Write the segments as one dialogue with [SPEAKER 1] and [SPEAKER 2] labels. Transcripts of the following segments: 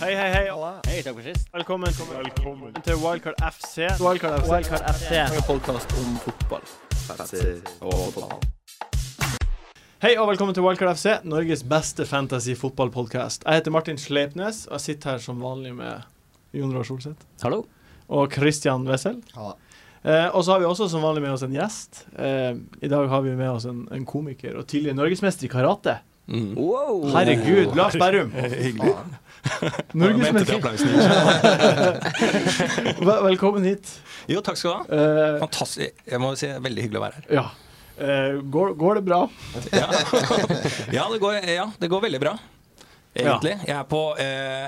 [SPEAKER 1] Hei, hei, hei.
[SPEAKER 2] Hei, takk for sist.
[SPEAKER 1] Velkommen, til Wildcard FC.
[SPEAKER 3] Wildcard FC.
[SPEAKER 2] Wildcard FC.
[SPEAKER 3] En podkast om fotball.
[SPEAKER 1] Hei og velkommen til Wildcard FC, Norges beste fantasy-fotballpodkast. Jeg heter Martin Sleipnes og jeg sitter her som vanlig med Jon Roar Solseth
[SPEAKER 2] Hallo.
[SPEAKER 1] og Christian Wessel. Eh, og så har vi også som vanlig med oss en gjest. Eh, I dag har vi med oss en, en komiker og tidligere norgesmester i karate.
[SPEAKER 4] Mm.
[SPEAKER 2] Wow.
[SPEAKER 1] Herregud, Lars Berrum!
[SPEAKER 4] Eh, Hyggelig.
[SPEAKER 1] Norgesmester. Vel- Velkommen hit.
[SPEAKER 4] Jo, takk skal du ha.
[SPEAKER 1] Eh,
[SPEAKER 4] Fantastisk. Jeg må si det er veldig hyggelig å være her.
[SPEAKER 1] ja. Eh, går, går det bra?
[SPEAKER 4] Ja, ja, det, går, ja det går veldig bra. Egentlig. Jeg er på, eh,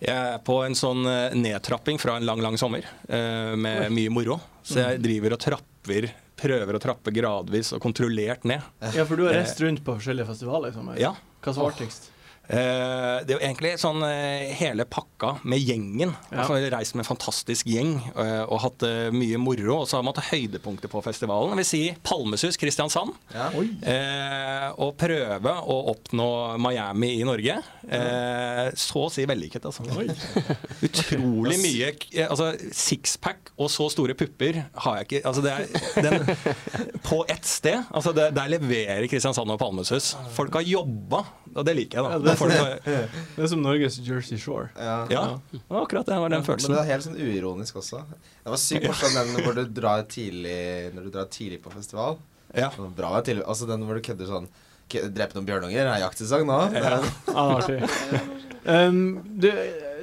[SPEAKER 4] jeg er på en sånn eh, nedtrapping fra en lang, lang sommer eh, med mye moro. Så jeg driver og trapper, prøver å trappe gradvis og kontrollert ned.
[SPEAKER 1] Ja, for du har reist rundt på forskjellige festivaler i sommer.
[SPEAKER 4] Eh. Ja.
[SPEAKER 1] Hva som var artigst?
[SPEAKER 4] Eh, det er jo egentlig sånn eh, hele pakka med gjengen.
[SPEAKER 1] Ja.
[SPEAKER 4] Altså, jeg har reist med en fantastisk gjeng eh, og hatt eh, mye moro. Og så har man hatt høydepunkter på festivalen. Det vil si Palmesus Kristiansand.
[SPEAKER 1] Oi.
[SPEAKER 4] Eh, og prøve å oppnå Miami i Norge. Eh, så å si vellykket, altså. Utrolig mye k- eh, altså, Sixpack og så store pupper har jeg ikke altså, det er, den, På ett sted. Altså, det, der leverer Kristiansand og Palmesus. Folk har jobba, og det liker jeg, da.
[SPEAKER 1] Ja, det-
[SPEAKER 4] Folk har,
[SPEAKER 1] Det er som Norges Jersey Shore.
[SPEAKER 5] Ja.
[SPEAKER 4] ja, akkurat det var den
[SPEAKER 5] Men det
[SPEAKER 4] følelsen.
[SPEAKER 5] er helt sånn uironisk også. Det var sykt morsomt den hvor du drar tidlig Når du drar tidlig på festival.
[SPEAKER 4] Ja.
[SPEAKER 5] Det var Bra å være tidlig Altså den hvor du kødder sånn «K- Drepe noen bjørnunger er jaktsesong nå.
[SPEAKER 1] Ja,
[SPEAKER 4] Ja.
[SPEAKER 1] det er Ah, artig. Um, du,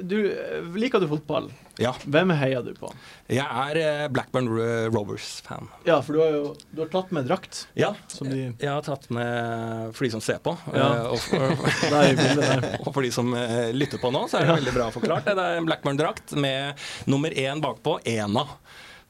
[SPEAKER 1] du liker du fotball.
[SPEAKER 4] ja.
[SPEAKER 1] Hvem heier du på?
[SPEAKER 4] Jeg er eh, Blackburn Ro- Rovers-fan.
[SPEAKER 1] Ja, for du har jo du har tatt med drakt.
[SPEAKER 4] Ja.
[SPEAKER 1] Som de
[SPEAKER 4] Jeg har tatt med eh, for de som ser på.
[SPEAKER 1] Ja.
[SPEAKER 4] eh, og, og,
[SPEAKER 1] der i bildet der.
[SPEAKER 4] Og for de som eh, lytter på nå, så er det veldig bra forklart. Det er en Blackburn-drakt med nummer én bakpå, Ena.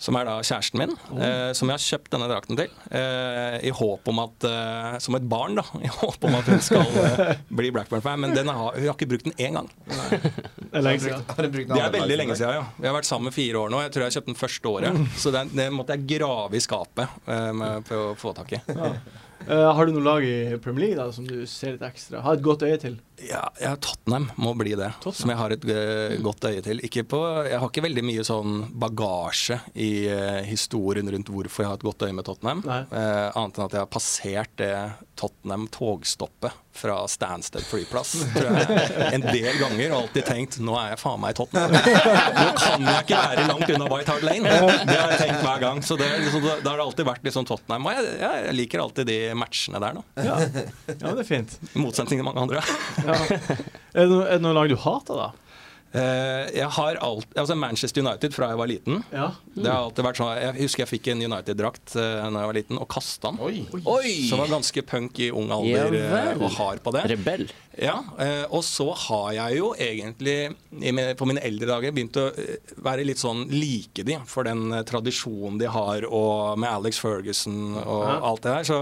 [SPEAKER 4] Som er da kjæresten min,
[SPEAKER 5] Oh.
[SPEAKER 4] eh, som jeg har kjøpt denne drakten til. Eh, I håp om at eh, Som et barn, da. I håp om at hun skal eh, bli Blackburn-fan. Men den har, hun har ikke brukt den én gang.
[SPEAKER 1] Det er lenge siden.
[SPEAKER 5] Har du brukt den
[SPEAKER 4] Det er
[SPEAKER 5] andre
[SPEAKER 4] veldig
[SPEAKER 5] dagen?
[SPEAKER 4] lenge siden, ja. Vi har vært sammen fire år nå. Jeg tror jeg kjøpte den første året. Så den, den måtte jeg grave i skapet eh, med- for å få tak i.
[SPEAKER 1] Ja. Eh, har du noe lag i Premier League da, som du ser litt ekstra? Har et godt øye til?
[SPEAKER 4] Ja, ja, Tottenham må bli det,
[SPEAKER 1] Tottenham.
[SPEAKER 4] som jeg har et eh, godt øye til. Ikke på, jeg har ikke veldig mye sånn bagasje i eh, historien rundt hvorfor jeg har et godt øye med Tottenham.
[SPEAKER 1] Nei.
[SPEAKER 4] Eh, annet enn at jeg har passert det Tottenham-togstoppet fra Stansted flyplass tror jeg, en del ganger og alltid tenkt nå er jeg faen meg i Tottenham. Nå kan jeg ikke være langt unna White Hart Lane. Det har jeg tenkt hver gang. Så det, er liksom, da da har det alltid vært liksom Tottenham. Og jeg, jeg liker alltid de matchene der, da.
[SPEAKER 1] Ja, ja det er fint.
[SPEAKER 4] I motsetning til mange andre.
[SPEAKER 1] Ja. Er, det noe, er det noe lag du hater, da?
[SPEAKER 4] Eh, jeg har alt, altså Manchester United fra jeg var liten.
[SPEAKER 1] Ja.
[SPEAKER 4] Det har alltid vært sånn, Jeg husker jeg fikk en United-drakt uh, da jeg var liten, og kasta den.
[SPEAKER 5] Oi.
[SPEAKER 4] Så var ganske punk i ung
[SPEAKER 2] Ja
[SPEAKER 4] alder eh,
[SPEAKER 2] vel.
[SPEAKER 4] og hard på det.
[SPEAKER 2] Rebell.
[SPEAKER 4] Ja, eh, Og så har jeg jo egentlig i min- på mine eldre dager begynt å eh, være litt sånn like de for den eh, tradisjonen de har og med Alex Ferguson og alt det der. Så,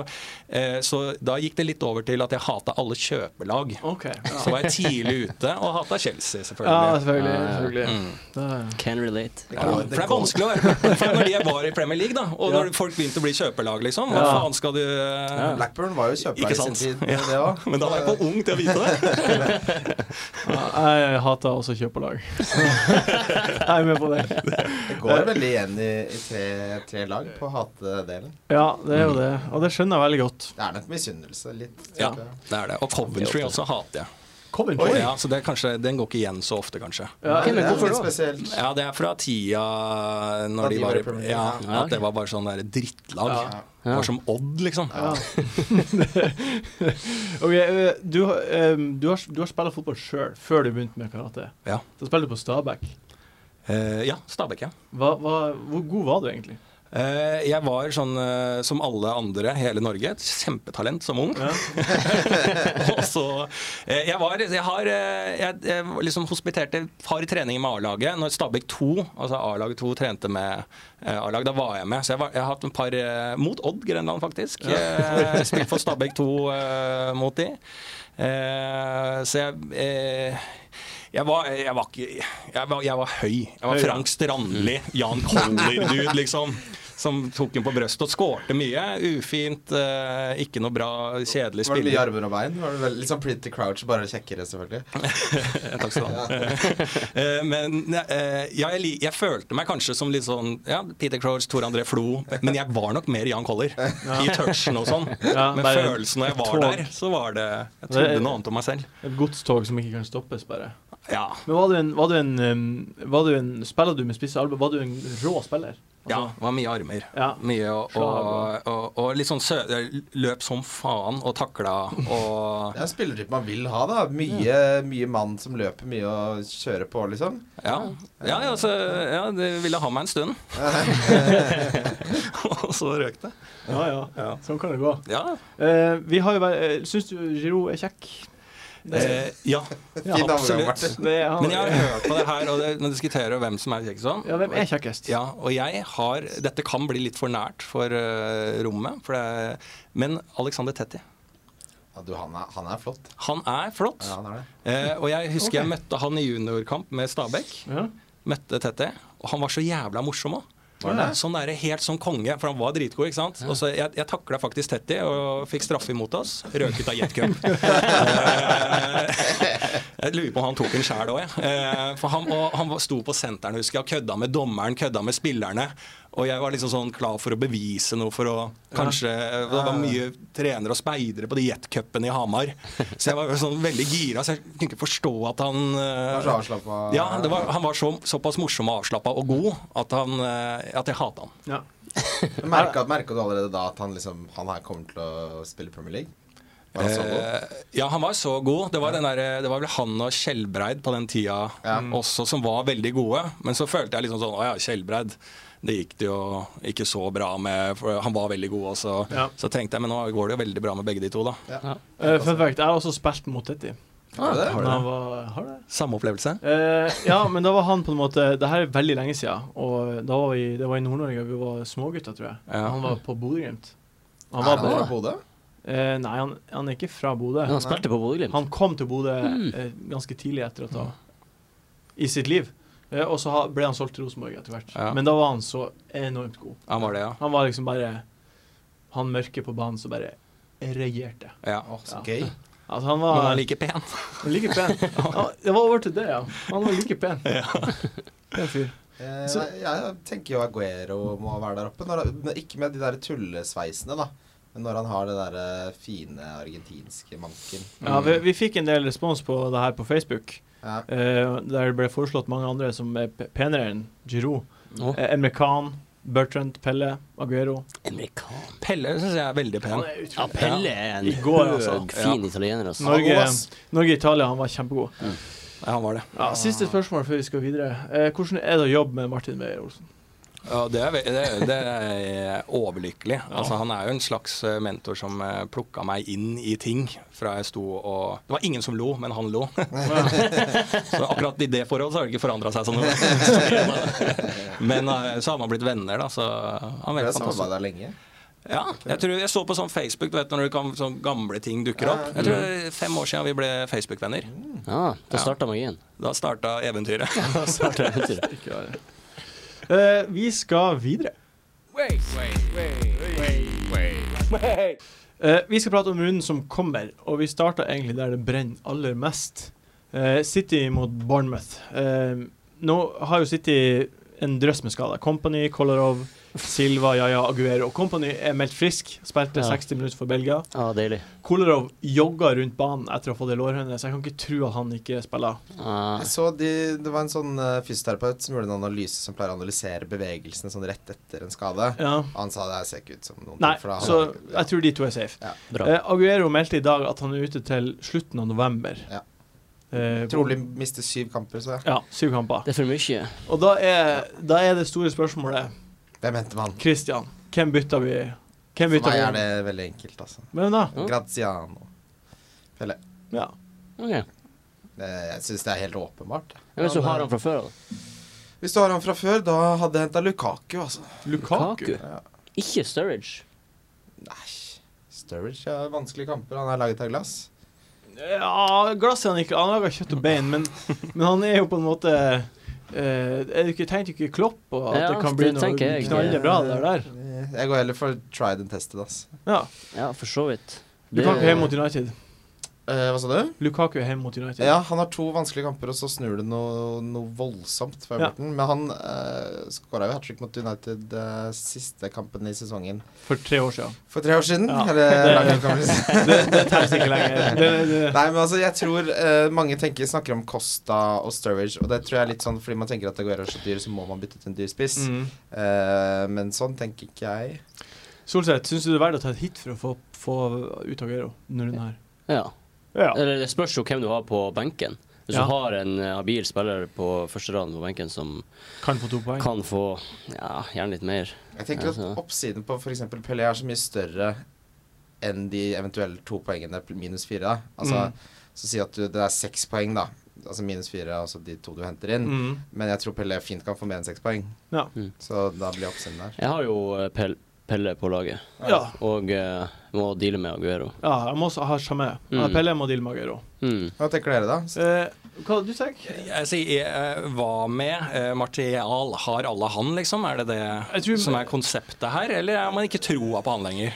[SPEAKER 4] eh, så da gikk det litt over til at jeg hata alle kjøpelag.
[SPEAKER 1] OK. Ja,
[SPEAKER 4] Så var jeg tidlig ute og hata Chelsea,
[SPEAKER 1] ja
[SPEAKER 4] selvfølgelig.
[SPEAKER 1] selvfølgelig. selvfølgelig. Da-
[SPEAKER 2] Can relate.
[SPEAKER 4] Ja, for det er vanskelig å være Blackburn-fan når jeg var i Premier League, da. Og
[SPEAKER 1] Ja.
[SPEAKER 4] når folk begynte å bli kjøpelag, liksom. Hva
[SPEAKER 1] Ja.
[SPEAKER 4] faen skal du eh,
[SPEAKER 5] Blackburn var jo
[SPEAKER 4] Ikke
[SPEAKER 5] kjøpelag i sin
[SPEAKER 4] sant?
[SPEAKER 5] tid,
[SPEAKER 4] Ja.
[SPEAKER 5] det òg.
[SPEAKER 4] Men da var jeg for ung til å vite det.
[SPEAKER 1] Ja, jeg hater også kjøpelag. jeg er med på det.
[SPEAKER 5] Det går veldig igjen i, i tre, tre lag på hatedelen.
[SPEAKER 1] Ja, det er jo det. Og det skjønner jeg veldig godt.
[SPEAKER 5] Det er nok misunnelse litt.
[SPEAKER 4] Ja,
[SPEAKER 5] tenker jeg.
[SPEAKER 4] det er det. Og Coventry også hater jeg.
[SPEAKER 1] Coventry.
[SPEAKER 4] Ja, så det er kanskje, Den går ikke igjen så ofte, kanskje.
[SPEAKER 1] Ja,
[SPEAKER 5] Det er
[SPEAKER 1] hvorfor
[SPEAKER 5] litt
[SPEAKER 1] da?
[SPEAKER 5] spesielt.
[SPEAKER 4] Ja, det er fra tida
[SPEAKER 5] Da
[SPEAKER 4] når de var i
[SPEAKER 5] Premier League,
[SPEAKER 4] Ja,
[SPEAKER 5] ja.
[SPEAKER 2] Ja,
[SPEAKER 4] at det var bare sånn der drittlag.
[SPEAKER 5] Ja.
[SPEAKER 4] Det var som Odd, liksom.
[SPEAKER 1] Ja. ok, eh, du, har, ehm, du har, du har spilt fotball sjøl, før du begynte med karate.
[SPEAKER 4] Ja,
[SPEAKER 1] Da spilte du på Stabæk.
[SPEAKER 4] Eh, ja Stabæk, ja.
[SPEAKER 1] Hva, hva, hvor god var du egentlig?
[SPEAKER 4] Eh, jeg var sånn eh, som alle andre, hele Norge, et kjempetalent som ung.
[SPEAKER 1] Ja.
[SPEAKER 4] og så eh, Jeg var Jeg har eh, jeg, jeg liksom hospiterte et par treninger med A-laget. Når Stabæk 2, altså A-laget 2, trente med eh, A-lag, da var jeg med. Så jeg, var, jeg har hatt en par eh, Mot Odd Grenland, faktisk. Eh, spilt for Stabæk 2 eh, mot de. Eh, så jeg eh, jeg var, jeg var ikke jeg var, jeg var høy. Jeg var
[SPEAKER 1] Høy, ja.
[SPEAKER 4] Frank Strandli, Jan Koller-dude, liksom. som tok henne på brøstet og skårte mye. Ufint, eh, ikke noe bra, kjedelig
[SPEAKER 5] Var det mye
[SPEAKER 4] spiller.
[SPEAKER 5] armer og bein? Var det vel, litt sånn Pretty Crouch, bare kjekkere, selvfølgelig.
[SPEAKER 4] Takk skal du ha. Eh, Men eh, ja, jeg, li- jeg følte meg kanskje som litt sånn ja, Peter Crouch, Tor André Flo, men jeg var nok mer Jan Koller i touchen og sånn.
[SPEAKER 1] Ja,
[SPEAKER 4] Men
[SPEAKER 1] bare
[SPEAKER 4] følelsen når jeg var
[SPEAKER 1] tog.
[SPEAKER 4] der, så var det Jeg
[SPEAKER 1] Det er-
[SPEAKER 4] trodde noe annet om meg selv.
[SPEAKER 1] Et godstog som ikke kan stoppes, bare.
[SPEAKER 4] Ja.
[SPEAKER 1] Men var du en, var du en, um, var du en Spiller du med spisse albuer? Var du en rå spiller?
[SPEAKER 4] Ja, det var mye armer.
[SPEAKER 1] Altså- Ja.
[SPEAKER 4] Mye og, og,
[SPEAKER 1] Slag
[SPEAKER 4] og, og litt sånn sø løp som faen og takla og
[SPEAKER 5] Det er en spillertype man vil ha, da. Mye, mye mann som løper mye og kjører på, liksom.
[SPEAKER 4] Ja, ja, ja, så, ja det ville ha meg en stund. og så røk det.
[SPEAKER 1] Ja, ja.
[SPEAKER 4] Ja.
[SPEAKER 1] Sånn kan det gå.
[SPEAKER 4] Ja.
[SPEAKER 1] Eh, vi har jo vært Syns du Giroud er kjekk?
[SPEAKER 4] Eh, ja.
[SPEAKER 1] Ja,
[SPEAKER 5] Fin
[SPEAKER 4] absolutt.
[SPEAKER 5] overgang, Martin.
[SPEAKER 1] Det er han.
[SPEAKER 4] Men jeg har hørt på det her, og det, man diskuterer hvem som er kjekk sånn.
[SPEAKER 1] Ja, hvem er kjekkest?
[SPEAKER 4] Ja, og jeg har Dette kan bli litt for nært for eh, rommet, for det, men Alexander Tetti.
[SPEAKER 5] Ja, du, han er, han er flott.
[SPEAKER 4] Han er flott.
[SPEAKER 5] Ja, han er det.
[SPEAKER 4] Eh, og jeg husker jeg møtte han i juniorkamp med Stabæk.
[SPEAKER 1] Ja.
[SPEAKER 4] Møtte Tette, og han var så jævla morsom òg. Sånn der, helt som konge, for han var dritgod. ikke sant? Og så Jeg, jeg takla faktisk Tetti og fikk straffe imot oss. Røk ut av jetcup. Eh, jeg lurer på om han tok en sjæl òg, jeg. Eh, For han, og han var- sto på senteren husker jeg, og kødda med dommeren, kødda med spillerne. Og jeg var liksom sånn klar for å bevise noe for å kanskje eh, Det var mye trenere og speidere på de jetcupene i Hamar. Så jeg var jo sånn veldig gira, så jeg kunne ikke forstå at han
[SPEAKER 5] Han
[SPEAKER 4] eh,
[SPEAKER 5] er så avslappa.
[SPEAKER 4] ja, det var, han var så, såpass morsom og avslappa og god at, han, eh, at jeg hata han.
[SPEAKER 1] Ja.
[SPEAKER 5] Merka, merka du allerede da at han, liksom, han her kommer til å spille Premier League? Var han så god?
[SPEAKER 4] Eh, ja, han var så god. Det var, den der, eh, det var vel han og Skjelbreid på den tida
[SPEAKER 5] Ja.
[SPEAKER 4] også som var veldig gode. Men så følte jeg liksom sånn Å ja, Skjelbreid. Det gikk det jo ikke så bra med, for han var veldig god også.
[SPEAKER 1] Ja.
[SPEAKER 4] Så tenkte jeg, men nå går det jo veldig bra med begge de to, da.
[SPEAKER 1] Eh, fun fact, jeg har også spilt mot Tetti.
[SPEAKER 5] Var det det?
[SPEAKER 1] Men han var, har du det?
[SPEAKER 4] Samme opplevelse.
[SPEAKER 1] Eh, ja, men da var han på en måte Det her er veldig lenge siden. Og da var vi, det var i Nord-Norge, vi var smågutter, tror jeg.
[SPEAKER 4] Ja.
[SPEAKER 1] Han var på Bodø-Glimt. Han
[SPEAKER 5] Er
[SPEAKER 1] var
[SPEAKER 4] Ah.
[SPEAKER 5] han
[SPEAKER 1] på,
[SPEAKER 5] fra Bodø?
[SPEAKER 1] eh, nei, han, han er ikke fra Bodø.
[SPEAKER 2] Men han spilte på Bodø-Glimt.
[SPEAKER 1] Han kom til Bodø
[SPEAKER 4] Mm.
[SPEAKER 1] eh, ganske tidlig etter at han I sitt liv. Eh, og så ha, ble han solgt til Rosenborg etter hvert.
[SPEAKER 4] Ja.
[SPEAKER 1] Men da var han så enormt god.
[SPEAKER 4] Han var det, ja.
[SPEAKER 1] Han var liksom bare Han mørke på banen som bare regjerte.
[SPEAKER 4] ja.
[SPEAKER 5] Å,
[SPEAKER 1] Ja.
[SPEAKER 5] så gøy.
[SPEAKER 1] Altså, han
[SPEAKER 4] Men han
[SPEAKER 1] var
[SPEAKER 4] er like pen.
[SPEAKER 1] like pen. Han, det var over til det, ja. Han var like pen. Pen fyr.
[SPEAKER 5] Eh,
[SPEAKER 1] Så-
[SPEAKER 5] nei, jeg tenker jo Aguero må være der oppe. Når, men ikke med de der tullesveisene, da. Men når han har det derre fine argentinske manken.
[SPEAKER 1] Ja, vi, vi fikk en del respons på det her på Facebook.
[SPEAKER 5] Ja.
[SPEAKER 1] eh, der det ble foreslått mange andre som er p- penere enn Giroud.
[SPEAKER 2] Å.
[SPEAKER 1] Eh, Emre Khan, Bertrand, Pelle, Aguero.
[SPEAKER 2] Amerikan.
[SPEAKER 4] Pelle syns jeg er veldig pen.
[SPEAKER 1] Han er utrolig
[SPEAKER 2] Ja, Pelle er en
[SPEAKER 1] I går, altså.
[SPEAKER 2] høg, fin italiener, altså.
[SPEAKER 5] Han var god,
[SPEAKER 1] Norge,
[SPEAKER 5] ass.
[SPEAKER 1] Norge Italia, han var kjempegod.
[SPEAKER 4] Ja, han var det.
[SPEAKER 1] Ja, siste spørsmål før vi skal videre. Eh, hvordan er det å jobbe med Martin Beyer Olsen?
[SPEAKER 4] Ja, det er, ve- det, er- det er overlykkelig. Altså, han er jo en slags eh, mentor som eh, plukka meg inn i ting fra jeg sto og Det var ingen som lo, men han lo. så akkurat i det forholdet så har det ikke forandra seg så noe. men eh, så har man blitt venner, da. Så han er
[SPEAKER 5] Dere
[SPEAKER 4] veldig
[SPEAKER 5] har
[SPEAKER 4] fantastisk.
[SPEAKER 5] samarbeida lenge.
[SPEAKER 4] Ja, jeg tror jeg så på sånn Facebook, du vet når du kan, sånn gamle ting dukker opp. Jeg tror det er fem år siden vi ble Facebook-venner.
[SPEAKER 2] Ja, da starta magien.
[SPEAKER 4] Da starta eventyret.
[SPEAKER 2] Starta eventyret.
[SPEAKER 1] Ikke verre. Eh, vi skal videre. Eh, vi skal prate om runden som kommer, og vi starter egentlig der det brenner aller mest. Eh, City mot Bournemouth. Eh, nå har jo City en drøss med skader. Company, Kolarov, Silva, Yaya, Aguero. Og Company er meldt frisk. Spilte
[SPEAKER 2] Ja.
[SPEAKER 1] 60 minutter for Belgia.
[SPEAKER 2] Ja, deilig.
[SPEAKER 1] Kolarov jogga rundt banen etter å ha fått ei lårhøne, så jeg kan ikke tro at han ikke spiller.
[SPEAKER 2] Ja.
[SPEAKER 5] Jeg så de, det var en sånn eh, fysioterapeut som gjorde en analyse som pleier å analysere bevegelsene sånn rett etter en skade.
[SPEAKER 1] Ja.
[SPEAKER 5] Han sa det her ser ikke ut som noen
[SPEAKER 1] Nei,
[SPEAKER 5] ting, for da-
[SPEAKER 1] så jeg tror de to er safe.
[SPEAKER 2] Bra.
[SPEAKER 1] Eh, Aguero meldte i dag at han er ute til slutten av november.
[SPEAKER 5] Ja.
[SPEAKER 1] Eh,
[SPEAKER 5] Trolig mister syv kamper, så
[SPEAKER 1] Ja, syv kamper.
[SPEAKER 2] Det er for mye.
[SPEAKER 1] Og da er, da er det store spørsmålet
[SPEAKER 5] hvem henter man?
[SPEAKER 1] Christian, hvem bytter vi? Hvem
[SPEAKER 5] For
[SPEAKER 1] bytter
[SPEAKER 5] meg er
[SPEAKER 1] vi?
[SPEAKER 5] det veldig enkelt, altså.
[SPEAKER 1] Hvem da?
[SPEAKER 2] Ja.
[SPEAKER 5] Graziano. Pelle.
[SPEAKER 1] Ja.
[SPEAKER 2] Ok. Ja,
[SPEAKER 5] Eh, Jeg syns det er helt åpenbart. eh,
[SPEAKER 2] men Hvis du har han fra før av?
[SPEAKER 5] Hvis du har han fra før, da hadde jeg henta Lukaku, altså.
[SPEAKER 1] Lukaku?
[SPEAKER 5] Ja.
[SPEAKER 2] Ikke Sturridge.
[SPEAKER 5] Nei. Sturridge har vanskelige kamper. Han er laget av glass.
[SPEAKER 1] Ja, glasset han ikke Han lager kjøtt og bein, men, men han er jo på en måte eh, Er det ikke tenkt ikke Klopp, og at
[SPEAKER 2] Ja,
[SPEAKER 1] det kan bli
[SPEAKER 2] det
[SPEAKER 1] noe
[SPEAKER 2] tenker jeg.
[SPEAKER 1] knallebra det der?
[SPEAKER 5] Eh, Jeg går heller for tried and tested, altså. ass.
[SPEAKER 1] Ja.
[SPEAKER 2] Ja, for så vidt. Det-
[SPEAKER 1] Lukaku hjemme mot United.
[SPEAKER 5] Eh, hva sa du?
[SPEAKER 1] Lukaku hjemme mot United.
[SPEAKER 5] Ja, han har to vanskelige kamper, og så snur det noe, noe voldsomt for
[SPEAKER 1] Ja.
[SPEAKER 5] Everton. Men han uh, skåra jo hat trick mot United eh, siste kampen i sesongen
[SPEAKER 1] For tre år siden.
[SPEAKER 5] for tre år siden.
[SPEAKER 1] Ja.
[SPEAKER 5] Eller, eh,
[SPEAKER 1] Det-
[SPEAKER 5] kan vi si.
[SPEAKER 1] Det, det telles ikke lenger. Det, det,
[SPEAKER 5] Nei, men altså, jeg tror eh, mange tenker, snakker om Costa og Sturridge, og det tror jeg er litt sånn fordi man tenker at Aguero er så dyr, så må man bytte til en dyr spiss.
[SPEAKER 1] Mm.
[SPEAKER 5] Eh, men sånn tenker ikke jeg.
[SPEAKER 1] Solseth, syns du det er verdt å ta et hit for å få, få ut Aguero denne runden her?
[SPEAKER 2] Ja.
[SPEAKER 1] Ja.
[SPEAKER 2] Eller det spørs jo hvem du har på benken. Hvis
[SPEAKER 1] Ja.
[SPEAKER 2] du har en eh, habil spiller på første raden på benken som
[SPEAKER 1] Kan få to poeng.
[SPEAKER 2] kan få ja, gjerne litt mer
[SPEAKER 5] Jeg tenker at
[SPEAKER 2] Altså.
[SPEAKER 5] oppsiden på f.eks. Pelé er så mye større enn de eventuelle to poengene pl- minus fire. Da. Altså,
[SPEAKER 1] Mm.
[SPEAKER 5] Så si at du, det er seks poeng, da. Altså minus fire, altså de to du henter inn.
[SPEAKER 1] Mm.
[SPEAKER 5] Men jeg tror Pelé fint kan få mer enn seks poeng.
[SPEAKER 1] Ja.
[SPEAKER 2] Mm.
[SPEAKER 5] Så da blir oppsiden der.
[SPEAKER 2] Jeg har jo eh, Pel- Pelle på laget,
[SPEAKER 1] ja.
[SPEAKER 2] og eh, må deale med Aguero.
[SPEAKER 1] Ja, jeg må også ha samme.
[SPEAKER 2] Mm.
[SPEAKER 1] Mm. Pelle må deale med Aguero.
[SPEAKER 2] Mm.
[SPEAKER 5] Hva tenker dere, da? S-
[SPEAKER 1] Eh, hva du tenker du?
[SPEAKER 4] Jeg sier, eh, Hva med eh, Martial? Har alle han, liksom? Er det det
[SPEAKER 1] Jeg tror-
[SPEAKER 4] som er konseptet her, eller har man ikke troa på han lenger?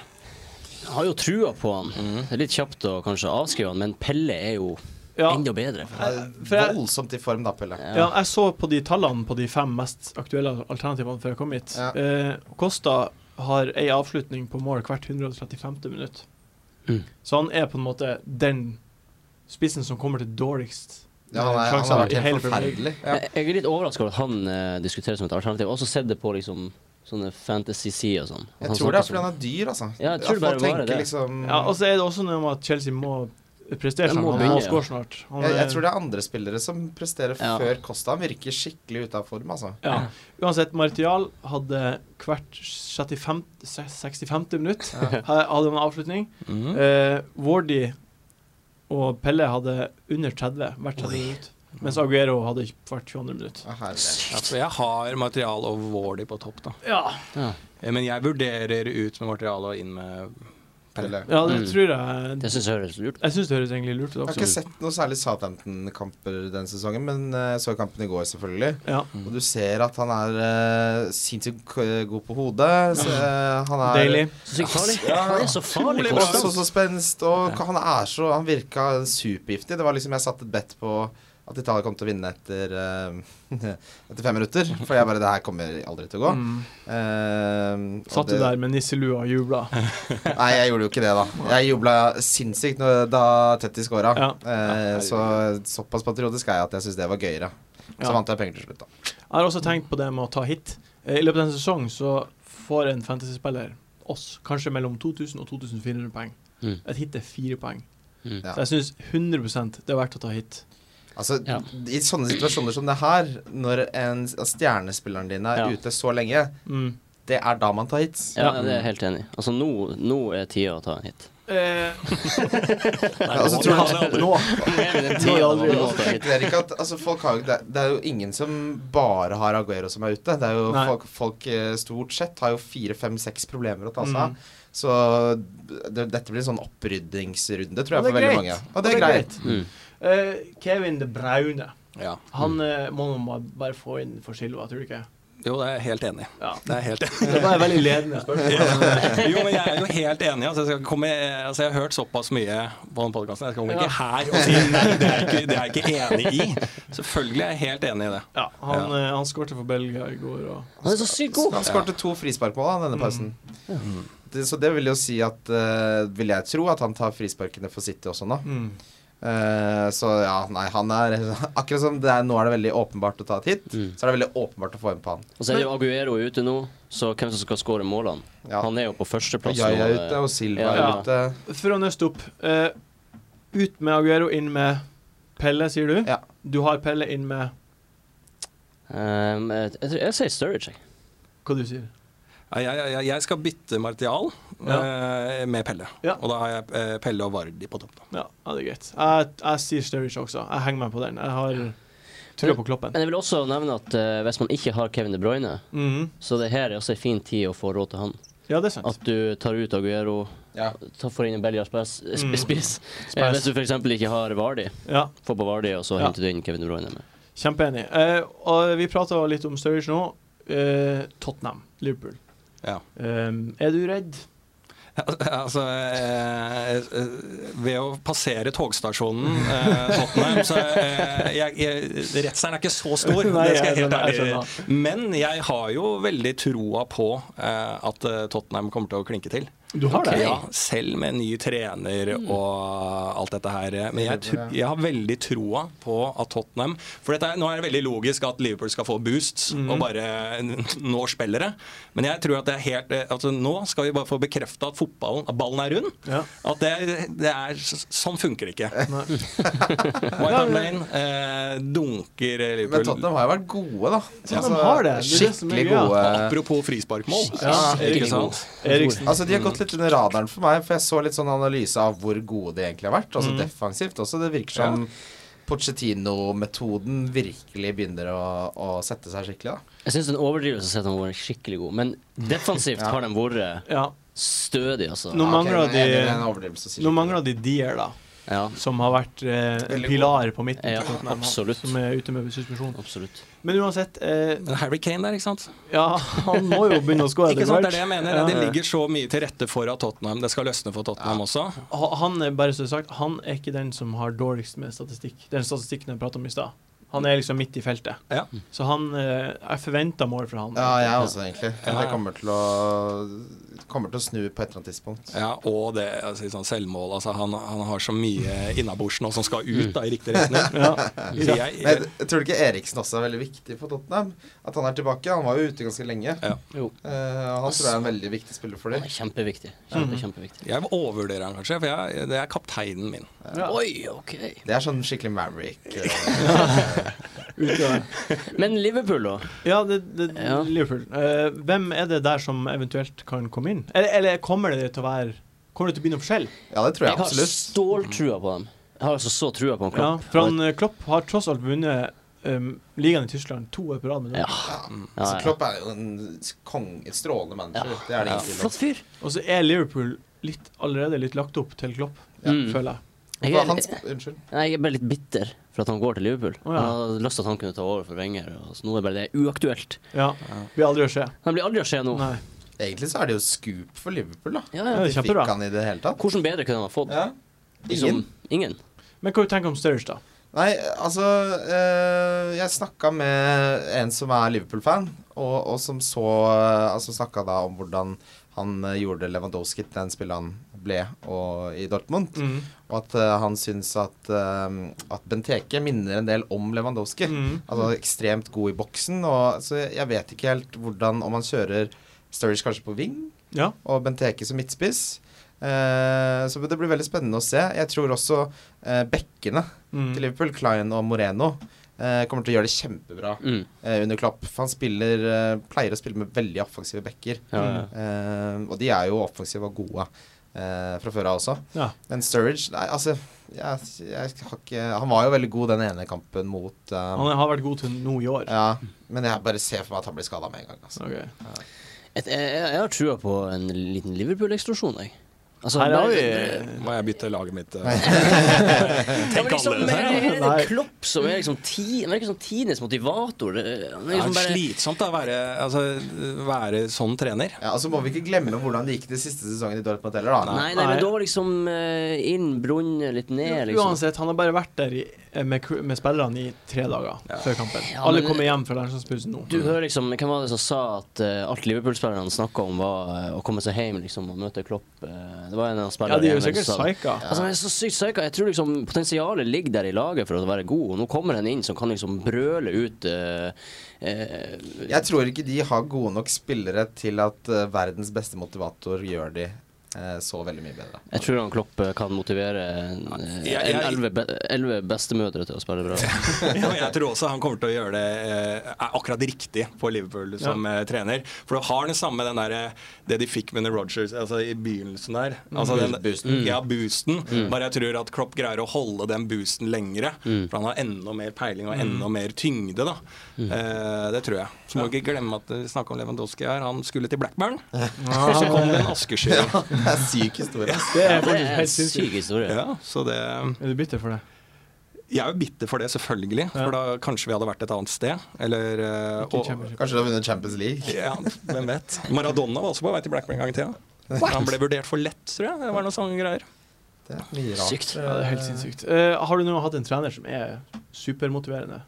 [SPEAKER 2] Jeg har jo trua på han.
[SPEAKER 1] Mhm.
[SPEAKER 2] Det er litt kjapt å kanskje avskrive han, men Pelle er jo
[SPEAKER 1] Ja.
[SPEAKER 2] enda bedre.
[SPEAKER 5] Ja,
[SPEAKER 1] Eh, for jeg-
[SPEAKER 5] Voldsomt i form, da, Pelé.
[SPEAKER 1] Ja, jeg så på de tallene på de fem mest aktuelle alternativene før jeg kom hit.
[SPEAKER 5] Ja.
[SPEAKER 1] Eh, Kosta har ei avslutning på mål hvert 135. minutt.
[SPEAKER 2] Mm.
[SPEAKER 1] Så han er på en måte den spissen som kommer til dårligst
[SPEAKER 5] Ja, han, er, han
[SPEAKER 1] sjanser
[SPEAKER 5] har
[SPEAKER 1] i
[SPEAKER 5] vært
[SPEAKER 1] hele
[SPEAKER 5] helt
[SPEAKER 1] Premier League.
[SPEAKER 5] forferdelig. Ja.
[SPEAKER 2] Jeg, jeg er litt overraska over at han eh, diskuteres som et alternativ. Jeg har også sett det på liksom sånne fantasy-sider og sånn. At
[SPEAKER 5] Jeg tror det er
[SPEAKER 2] snakker
[SPEAKER 5] fordi han er dyr, altså.
[SPEAKER 2] Ja, jeg tror det bare
[SPEAKER 5] Folk
[SPEAKER 2] var
[SPEAKER 5] tenker
[SPEAKER 2] det.
[SPEAKER 5] Liksom,
[SPEAKER 1] Ja, og så er det også noe med at Chelsea må prestere
[SPEAKER 2] Jeg
[SPEAKER 1] snart.
[SPEAKER 2] må
[SPEAKER 1] Han må
[SPEAKER 2] begynne, ja.
[SPEAKER 1] score snart. Han
[SPEAKER 5] jeg, jeg
[SPEAKER 1] er-
[SPEAKER 5] tror det er andre spillere som presterer
[SPEAKER 2] Ja.
[SPEAKER 5] før Costa. Han virker skikkelig ute av form, altså.
[SPEAKER 1] ja. Uansett, Martial hadde hvert 65, 65. minutt
[SPEAKER 5] Ja.
[SPEAKER 1] ha- hadde han avslutning.
[SPEAKER 4] Mm.
[SPEAKER 1] Eh, Wardy og Pelle hadde under 30 hvert 30 minutt. Mens Aguero hadde hvert 22. minutt.
[SPEAKER 5] Ja, herlig.
[SPEAKER 4] Ja, for jeg har Martial og Wardy på topp, da.
[SPEAKER 1] Ja,
[SPEAKER 4] Eh, Men jeg vurderer ut med Martial og inn med Pelle.
[SPEAKER 1] det
[SPEAKER 5] Pelé.
[SPEAKER 2] Mm.
[SPEAKER 1] tror
[SPEAKER 2] som-
[SPEAKER 1] jeg
[SPEAKER 2] Det syns jeg høres lurt ut.
[SPEAKER 1] Jeg syns det høres egentlig lurt ut
[SPEAKER 5] Jeg har
[SPEAKER 1] også.
[SPEAKER 5] ikke sett noe særlig Southampton-kamper denne sesongen, men eh, jeg så kampen i går, selvfølgelig.
[SPEAKER 1] Ja.
[SPEAKER 5] Og du ser at han er eh, sinnssykt k- god på hodet. Så,
[SPEAKER 1] Mm.
[SPEAKER 5] eh, han er
[SPEAKER 1] Deilig.
[SPEAKER 2] Så sykt farlig. Han er så farlig
[SPEAKER 5] Og så,
[SPEAKER 2] konstant.
[SPEAKER 5] så spenst, og han er så Han virka supergiftig. Det var liksom Jeg satte et bet på at Italia kom til å vinne etter eh, Etter fem minutter. For jeg bare Det her kommer aldri til å gå.
[SPEAKER 1] Mm.
[SPEAKER 5] Eh, og
[SPEAKER 1] Satt du
[SPEAKER 5] det-
[SPEAKER 1] der med nisselua og jubla?
[SPEAKER 5] Nei, jeg gjorde jo ikke det, da. Jeg jubla sinnssykt når, da Tetty scora.
[SPEAKER 1] Ja.
[SPEAKER 5] Eh, så såpass patriotisk er jeg at jeg syns det var gøyere. Så
[SPEAKER 1] Ja.
[SPEAKER 5] vant jeg penger til slutt, da.
[SPEAKER 1] Jeg har også tenkt på det med å ta hit. Eh, I løpet av en sesong så får en fantasyspiller oss kanskje mellom 2000 og 2400 poeng.
[SPEAKER 2] Mm.
[SPEAKER 1] Et hit er fire poeng.
[SPEAKER 2] Mm.
[SPEAKER 5] Ja.
[SPEAKER 1] Så jeg syns 100 det er verdt å ta hit.
[SPEAKER 5] Altså,
[SPEAKER 2] Ja.
[SPEAKER 5] I sånne situasjoner som det her, når en at stjernespilleren din er
[SPEAKER 2] Ja.
[SPEAKER 5] ute så lenge,
[SPEAKER 1] Mm.
[SPEAKER 5] det er da man tar hits.
[SPEAKER 2] Ja, det er jeg helt enig i. Altså, nå, nå er tida å ta en hit.
[SPEAKER 1] Eh,
[SPEAKER 5] Ja, altså, tror
[SPEAKER 4] det er
[SPEAKER 5] jeg,
[SPEAKER 1] Nå er
[SPEAKER 2] Tida nå
[SPEAKER 5] nå,
[SPEAKER 1] det aldri
[SPEAKER 2] å
[SPEAKER 5] nå
[SPEAKER 2] ta en hit.
[SPEAKER 5] tenker dere ikke at altså, folk har, jo- det, det er jo ingen som bare har Aguero som er ute. Det er jo
[SPEAKER 1] Nei.
[SPEAKER 5] folk, folk eh, stort sett har jo fire, fem, seks problemer å ta
[SPEAKER 1] Mm.
[SPEAKER 5] seg av. Så det, dette blir en sånn opprydningsrunde, tror
[SPEAKER 1] Og det
[SPEAKER 5] jeg, for
[SPEAKER 1] er
[SPEAKER 5] veldig
[SPEAKER 1] greit.
[SPEAKER 5] mange. Og det er greit.
[SPEAKER 2] Mm.
[SPEAKER 1] Eh, Kevin De Braune.
[SPEAKER 4] Ja.
[SPEAKER 1] Han eh, må man ba- bare få inn for Silva, tror du ikke?
[SPEAKER 4] Jo, det er jeg helt enig. i.
[SPEAKER 1] Ja.
[SPEAKER 4] Det er jeg helt enig. i.
[SPEAKER 1] Det var et veldig ledende spørsmål.
[SPEAKER 4] Jo, men jeg er jo helt enig. Altså, jeg, skal ikke komme, altså, jeg har hørt såpass mye på den podkasten. Jeg skal komme ikke her og si nei, det er jeg ikke, det er jeg ikke enig i. Selvfølgelig er jeg helt enig i det.
[SPEAKER 1] Ja, han, eh, han skårte for Belgia i går, og
[SPEAKER 2] Han er så sykt
[SPEAKER 5] Så
[SPEAKER 2] god.
[SPEAKER 5] Han skårte to frisparkmål da, denne pausen. Det, så det vil jo si at eh, Vil jeg tro at han tar frisparkene for City også nå. Eh, så ja, nei, han er Akkurat som det er, nå er det veldig åpenbart å ta et hit,
[SPEAKER 2] Mm.
[SPEAKER 5] så er det veldig åpenbart å få en på han.
[SPEAKER 2] Og så er det jo Aguero ute nå, så hvem som skal skåre målene?
[SPEAKER 5] Ja.
[SPEAKER 2] Han er jo på førsteplass.
[SPEAKER 5] Jaya
[SPEAKER 2] nå,
[SPEAKER 5] er
[SPEAKER 2] eh,
[SPEAKER 5] ute, og Silva
[SPEAKER 2] Ja, ja.
[SPEAKER 5] er ute.
[SPEAKER 1] For å nøste opp. eh, ut med Aguero, inn med Pelle, sier du.
[SPEAKER 5] Ja.
[SPEAKER 1] Du har Pelle inn med
[SPEAKER 2] Um, jeg, jeg, tror- jeg sier Sturridge, jeg.
[SPEAKER 1] Hva du sier
[SPEAKER 4] Ja, Jeg, jeg, jeg skal bytte Martial eh, med Pelle.
[SPEAKER 1] Ja.
[SPEAKER 4] Og da har jeg eh, Pelle og Vardi på topp. Da.
[SPEAKER 1] Ja, ja det er greit. Jeg, jeg sier Sturridge også. Jeg henger meg på den. Jeg har trua på kloppen.
[SPEAKER 2] Men jeg vil også nevne at eh, hvis man ikke har Kevin De Bruyne,
[SPEAKER 1] Mhm.
[SPEAKER 2] så det her er også en fin tid å få råd til han.
[SPEAKER 1] Ja, det er sant.
[SPEAKER 2] At du tar ut Aguero, tar får inn en Belgia spiss,
[SPEAKER 1] Mm.
[SPEAKER 2] spiss. Eh,
[SPEAKER 1] Spiss.
[SPEAKER 2] Hvis du f.eks. ikke har Vardi,
[SPEAKER 1] Ja.
[SPEAKER 2] få på Vardi, og så
[SPEAKER 1] Ja.
[SPEAKER 2] henter du inn Kevin De Bruyne med.
[SPEAKER 1] Kjempeenig. Eh, og vi prata litt om Sturridge nå. Eh, Tottenham, Liverpool.
[SPEAKER 4] Ja.
[SPEAKER 1] Ehm, er du redd?
[SPEAKER 4] Altså, eh, eh, ved å passere togstasjonen eh, Tottenham, så eh, jeg, jeg, redselen er ikke så stor.
[SPEAKER 1] Nei,
[SPEAKER 4] det skal
[SPEAKER 1] jeg
[SPEAKER 4] jeg helt
[SPEAKER 1] skjønner, jeg
[SPEAKER 4] ærlig. Men jeg har jo veldig troa på eh, at eh, Tottenham kommer til å klinke til.
[SPEAKER 1] Du har det?
[SPEAKER 4] Ja, selv med ny trener
[SPEAKER 1] Mm.
[SPEAKER 4] og alt dette her. Men jeg, tr- jeg har veldig troa på at Tottenham For dette er, nå er det veldig logisk at Liverpool skal få boost
[SPEAKER 1] Mm.
[SPEAKER 4] og bare nå spillere. Men jeg tror at det er helt altså Nå skal vi bare få bekrefta at fotballen, at ballen er rund.
[SPEAKER 1] Ja.
[SPEAKER 4] At det, det er Sånn funker det ikke.
[SPEAKER 1] Nei.
[SPEAKER 4] White Hart Lane eh, dunker
[SPEAKER 5] Men
[SPEAKER 4] Liverpool.
[SPEAKER 5] Tottenham har jo vært gode, da. Altså,
[SPEAKER 1] Tottenham har det. Det er det som er
[SPEAKER 5] skikkelig
[SPEAKER 1] greia.
[SPEAKER 5] gode.
[SPEAKER 4] Apropos frisparkmål.
[SPEAKER 1] Ja,
[SPEAKER 4] ikke sant?
[SPEAKER 1] Eriksen.
[SPEAKER 5] Altså, De har gått litt under radaren for meg, for jeg så litt sånn analyse av hvor gode de egentlig har vært.
[SPEAKER 2] Mm.
[SPEAKER 5] Altså defensivt også. Det virker som Pochettino-metoden virkelig begynner å, å sette seg skikkelig, da.
[SPEAKER 2] Jeg syns den overdrivelsen sier at de har vært skikkelig god, men defensivt har de vært
[SPEAKER 1] Ja.
[SPEAKER 2] stødig, altså.
[SPEAKER 1] Nå
[SPEAKER 5] Ja, ok,
[SPEAKER 1] mangler
[SPEAKER 5] men jeg er enig i den
[SPEAKER 1] de
[SPEAKER 5] overdrivelsen, sier
[SPEAKER 1] Nå
[SPEAKER 5] jeg.
[SPEAKER 1] mangler de Dier, da.
[SPEAKER 2] Ja,
[SPEAKER 1] Som har vært eh, en
[SPEAKER 5] Veldig
[SPEAKER 1] pilar på midten.
[SPEAKER 2] Ja,
[SPEAKER 1] til Tottenham,
[SPEAKER 2] absolutt.
[SPEAKER 1] Som er ute med suspensjon.
[SPEAKER 2] absolutt.
[SPEAKER 1] Men uansett eh,
[SPEAKER 4] Men Harry Kane der, ikke sant?
[SPEAKER 1] Ja, han må jo begynne å skåre.
[SPEAKER 4] Ikke sant, det er det jeg mener.
[SPEAKER 1] Ja.
[SPEAKER 4] Det ligger så mye til rette for at Tottenham Det skal løsne for Tottenham også.
[SPEAKER 1] Ha- Han er bare så sagt, han er ikke den som har dårligst med statistikk. Den statistikken jeg pratet om i stad. Han er liksom midt i feltet.
[SPEAKER 4] Ja.
[SPEAKER 1] Så han eh, Jeg forventa mål fra han.
[SPEAKER 5] Ja, jeg også, egentlig.
[SPEAKER 4] Ja.
[SPEAKER 5] Det kommer til å Kommer til å snu på et eller annet tidspunkt.
[SPEAKER 4] Ja, og det altså, sånn selvmål. Altså, han, han har så mye innabords nå som skal ut da, i riktig retning.
[SPEAKER 1] Ja.
[SPEAKER 4] Så jeg,
[SPEAKER 5] Men jeg, jeg tror ikke Eriksen også er veldig viktig for Tottenham. At han er tilbake. Han var jo ute ganske lenge.
[SPEAKER 4] Ja.
[SPEAKER 2] Jo.
[SPEAKER 5] Eh, og han tror jeg er en veldig viktig spiller for
[SPEAKER 2] Han
[SPEAKER 5] dem.
[SPEAKER 2] er kjempeviktig. Kjempe, kjempeviktig.
[SPEAKER 4] jeg overvurderer han kanskje, for jeg, det er kapteinen min.
[SPEAKER 1] Ja.
[SPEAKER 2] Oi, ok.
[SPEAKER 5] Det er sånn skikkelig Maverick. eh,
[SPEAKER 1] Utøver.
[SPEAKER 2] Men Liverpool, da?
[SPEAKER 1] ja, det, det,
[SPEAKER 2] Ja.
[SPEAKER 1] Liverpool. Eh, hvem er det der som eventuelt kan komme inn? Eller, eller kommer det til å være Kommer det til å bli noe forskjell?
[SPEAKER 5] Ja, det tror jeg
[SPEAKER 2] Jeg har
[SPEAKER 5] absolutt.
[SPEAKER 2] ståltrua på dem. Jeg har altså så trua på en
[SPEAKER 1] Ja,
[SPEAKER 2] Klopp.
[SPEAKER 1] for han, eh, Klopp har tross alt vunnet um, ligaen i Tyskland to år på rad. med det.
[SPEAKER 2] Ja. Ja,
[SPEAKER 5] Så
[SPEAKER 2] ja.
[SPEAKER 5] Klopp er jo en kong, en strålende manager.
[SPEAKER 2] Ja.
[SPEAKER 5] Det er det
[SPEAKER 4] Ja.
[SPEAKER 5] ingen tvil om.
[SPEAKER 2] Flott fyr.
[SPEAKER 1] Og så er Liverpool litt, allerede litt lagt opp til Klopp,
[SPEAKER 5] Ja.
[SPEAKER 2] Mm.
[SPEAKER 1] føler jeg.
[SPEAKER 2] Jeg
[SPEAKER 5] Hva
[SPEAKER 2] er,
[SPEAKER 5] er hans, unnskyld.
[SPEAKER 2] nei, jeg er bare litt bitter for at han går til Liverpool.
[SPEAKER 1] Å, ja.
[SPEAKER 2] Jeg hadde lyst til at han kunne ta over for Wenger, og så nå er bare det uaktuelt.
[SPEAKER 1] Ja. Blir aldri å skje.
[SPEAKER 2] Han blir aldri å skje nå.
[SPEAKER 1] Nei.
[SPEAKER 5] Egentlig så er det jo scoop for Liverpool, da.
[SPEAKER 2] Ja,
[SPEAKER 1] Ja,
[SPEAKER 2] ja.
[SPEAKER 1] det er
[SPEAKER 5] Fikk
[SPEAKER 1] kjempebra.
[SPEAKER 5] han i det hele tatt?
[SPEAKER 2] Hvordan bedre kunne han ha fått? liksom?
[SPEAKER 5] Ja. Ingen.
[SPEAKER 2] ingen.
[SPEAKER 1] Men hva du tenker du om Sturridge, da?
[SPEAKER 5] Nei, altså eh, Jeg snakka med en som er Liverpool-fan, og, og som så eh, Altså snakka da om hvordan han eh, gjorde Lewandowski til den spillet han ble og, i Dortmund.
[SPEAKER 1] Mm.
[SPEAKER 5] Og at eh, han syns at, eh, at Benteke minner en del om Lewandowski.
[SPEAKER 1] Mm.
[SPEAKER 5] Altså ekstremt god i boksen. Og, så jeg, jeg vet ikke helt hvordan Om han kjører Sturridge kanskje på wing
[SPEAKER 1] Ja.
[SPEAKER 5] og Benteke som midtspiss. Eh, så det blir veldig spennende å se. Jeg tror også eh, bekkene
[SPEAKER 1] Mm.
[SPEAKER 5] til Liverpool, Klein og Moreno, eh, kommer til å gjøre det kjempebra
[SPEAKER 2] Mm.
[SPEAKER 5] eh, under Klopp. For han spiller, eh, pleier å spille med veldig offensive bekker.
[SPEAKER 2] Ja, ja.
[SPEAKER 5] Eh, og de er jo offensive og gode eh, fra før av også.
[SPEAKER 1] Ja.
[SPEAKER 5] Men Sturridge Nei, altså jeg, jeg har ikke, Han var jo veldig god den ene kampen mot eh,
[SPEAKER 1] Han har vært god til nå i år.
[SPEAKER 5] ja, Men jeg bare ser for meg at han blir skada med en gang. Altså.
[SPEAKER 1] Ok.
[SPEAKER 2] Et, jeg, jeg jeg har trua på en liten Liverpool-eksplosjon, jeg. Altså,
[SPEAKER 1] Her har
[SPEAKER 2] bare-
[SPEAKER 1] vi
[SPEAKER 4] Må jeg bytte laget mitt? eh?
[SPEAKER 2] Ja, men liksom,
[SPEAKER 4] annerledes
[SPEAKER 2] men
[SPEAKER 1] her, ja.
[SPEAKER 2] er
[SPEAKER 1] Nei.
[SPEAKER 2] det Klopp som er liksom ti, han er liksom tidenes motivator. Det- Han er
[SPEAKER 4] Det er
[SPEAKER 2] liksom bare
[SPEAKER 4] slitsomt da, å være, altså, være sånn trener.
[SPEAKER 5] Ja, og så må vi ikke glemme hvordan det gikk de siste sesongen i Dortmund heller, da.
[SPEAKER 2] Nei, nei,
[SPEAKER 1] Nei.
[SPEAKER 2] men da var liksom eh, inn, brunnet litt ned, liksom.
[SPEAKER 1] Uansett, han har bare vært der i, eh, med, cr- med spillerne i tre dager før kampen.
[SPEAKER 2] Ja,
[SPEAKER 1] Alle
[SPEAKER 2] men-
[SPEAKER 1] kommer hjem fra landslagspausen nå.
[SPEAKER 2] Du hører liksom, Hvem var det som sa at eh, alt Liverpool-spillerne snakka om, var eh, å komme seg hjem liksom, og møte Klopp? eh, det var en av
[SPEAKER 1] Ja, de er jo
[SPEAKER 2] spillerne
[SPEAKER 1] sikkert psyka.
[SPEAKER 2] Altså, han er så sykt psyka. Jeg tror liksom potensialet ligger der i laget for å være god. Og nå kommer han inn som kan liksom brøle ut eh, eh,
[SPEAKER 5] Jeg tror ikke de har gode nok spillere til at eh, verdens beste motivator gjør de eh, så veldig mye bedre.
[SPEAKER 2] Jeg tror han Klopp eh, kan motivere eh,
[SPEAKER 4] Jeg- jeg-
[SPEAKER 2] elleve be elleve bestemødre til å spille bra.
[SPEAKER 4] Ja, og jeg tror også han kommer til å gjøre det eh, er akkurat riktig for Liverpool som eh, trener. For du har det samme den der, eh, det de fikk med Rogers altså, i begynnelsen der.
[SPEAKER 1] Mm.
[SPEAKER 4] Altså, den, boosten. Ja, boosten. Bare jeg tror at Klopp greier å holde den boosten lengre. For han har enda mer peiling og enda mer tyngde, da. Eh, det tror jeg. Så må vi ikke glemme at vi snakka om Lewandowski her. Han skulle til Blackburn. Så kom det en askesky.
[SPEAKER 5] Det er en syk historie.
[SPEAKER 1] Det er
[SPEAKER 2] Det
[SPEAKER 1] faktisk
[SPEAKER 2] er en
[SPEAKER 1] helt sinnssykt.
[SPEAKER 2] syk historie.
[SPEAKER 4] Ja, så det
[SPEAKER 1] Er du bitter for det?
[SPEAKER 4] Jeg er jo bitter for det, selvfølgelig.
[SPEAKER 1] Ja.
[SPEAKER 4] For da kanskje vi hadde vært et annet sted. Eller eh,
[SPEAKER 1] Ikke
[SPEAKER 4] og-
[SPEAKER 1] championship.
[SPEAKER 5] Kanskje du har vunnet Champions League?
[SPEAKER 4] Ja, hvem vet. Maradona var også på vei til Blackburn en gang i tida. Han ble vurdert for lett, tror jeg. Det var noen sånne greier.
[SPEAKER 5] Det er mye rart.
[SPEAKER 2] Sykt.
[SPEAKER 1] Ja, det er helt sinnssykt. Eh, har du noen hatt en trener som er supermotiverende?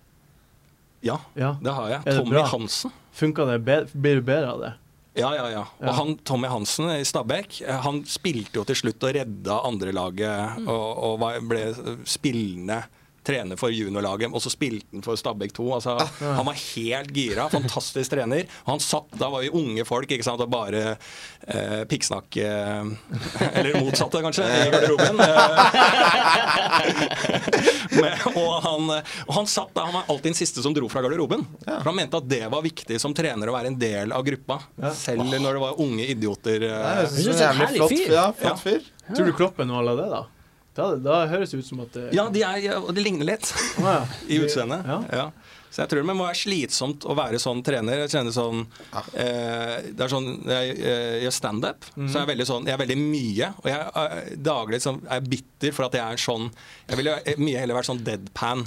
[SPEAKER 4] Ja,
[SPEAKER 1] Ja.
[SPEAKER 4] det har jeg.
[SPEAKER 1] det
[SPEAKER 4] Tommy
[SPEAKER 1] bra?
[SPEAKER 4] Hansen.
[SPEAKER 1] Funka det? Be blir du bedre av det?
[SPEAKER 4] Ja, ja, ja.
[SPEAKER 1] Ja.
[SPEAKER 4] Og han, Tommy Hansen i Stabæk eh, han spilte jo til slutt og redda andrelaget og, og var- ble spillende trener for juniorlaget, og så spilte han for Stabæk 2. Altså,
[SPEAKER 1] Ah.
[SPEAKER 4] han var helt gira, fantastisk trener. Og han satt, Da var vi unge folk ikke sant, og bare eh, pikksnakke Eller motsatte, kanskje, i garderoben. Eh, men, og, han, og han satt da, han var alltid den siste som dro fra garderoben. For han mente at det var viktig som trener å være en del av gruppa, selv når det var unge idioter.
[SPEAKER 5] Nei,
[SPEAKER 4] eh,
[SPEAKER 5] jeg synes
[SPEAKER 2] Jeg synes det
[SPEAKER 5] det er
[SPEAKER 2] er
[SPEAKER 5] en
[SPEAKER 2] herlig
[SPEAKER 5] jævlig flott
[SPEAKER 2] fyr.
[SPEAKER 5] fyr. Ja, flott fyr.
[SPEAKER 1] Tror du Kloppen var av det, da? Da, da høres det ut som at det
[SPEAKER 4] Ja, de, er, og de ligner litt
[SPEAKER 1] Å, ja.
[SPEAKER 4] i utseendet.
[SPEAKER 1] Ja.
[SPEAKER 4] Ja. Så jeg tror det må være slitsomt å være sånn trener. Jeg kjenner sånn, eh, det er sånn Jeg eh, gjør standup, så jeg er veldig sånn Jeg er veldig mye. Og jeg er daglig sånn, er bitter for at jeg er sånn Jeg ville mye heller vært sånn deadpan.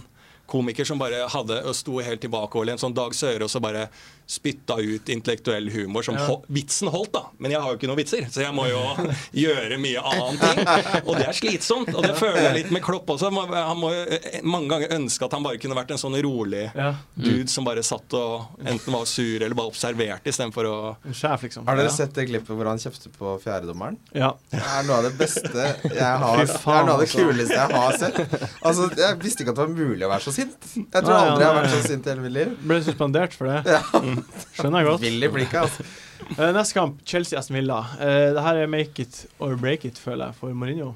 [SPEAKER 4] Komiker som bare hadde og sto helt tilbakeholden. Sånn Dag Sørås og bare spytta ut intellektuell humor som ho Vitsen holdt, da, men jeg har jo ikke noen vitser, så jeg må jo gjøre mye annet. ting. Og det er slitsomt. Og det føler jeg litt med Klopp også. Man- Han må jo eh, mange ganger ønske at han bare kunne vært en sånn rolig
[SPEAKER 1] Ja.
[SPEAKER 4] dude som bare satt og enten var sur eller bare observerte istedenfor å
[SPEAKER 1] En sjef, liksom.
[SPEAKER 5] Har dere
[SPEAKER 1] ja.
[SPEAKER 5] sett det klippet hvor han kjefter på fjerdedommeren?
[SPEAKER 1] Ja.
[SPEAKER 5] Det er noe av det beste jeg har
[SPEAKER 1] Fy
[SPEAKER 5] Det
[SPEAKER 1] faen,
[SPEAKER 5] er noe av det
[SPEAKER 1] altså.
[SPEAKER 5] kuleste jeg har sett. Altså, Jeg visste ikke at det var mulig å være så sint. Jeg tror
[SPEAKER 1] Nei, ja,
[SPEAKER 5] aldri jeg har
[SPEAKER 1] nei.
[SPEAKER 5] vært så sint i hele mitt liv.
[SPEAKER 1] Ble suspendert for det. Mm. Skjønner jeg godt.
[SPEAKER 5] Vill i blikket, altså.
[SPEAKER 1] Eh, neste kamp, Chelsea-Aston Villa. Eh, det her er make it or break it, føler jeg, for Mourinho.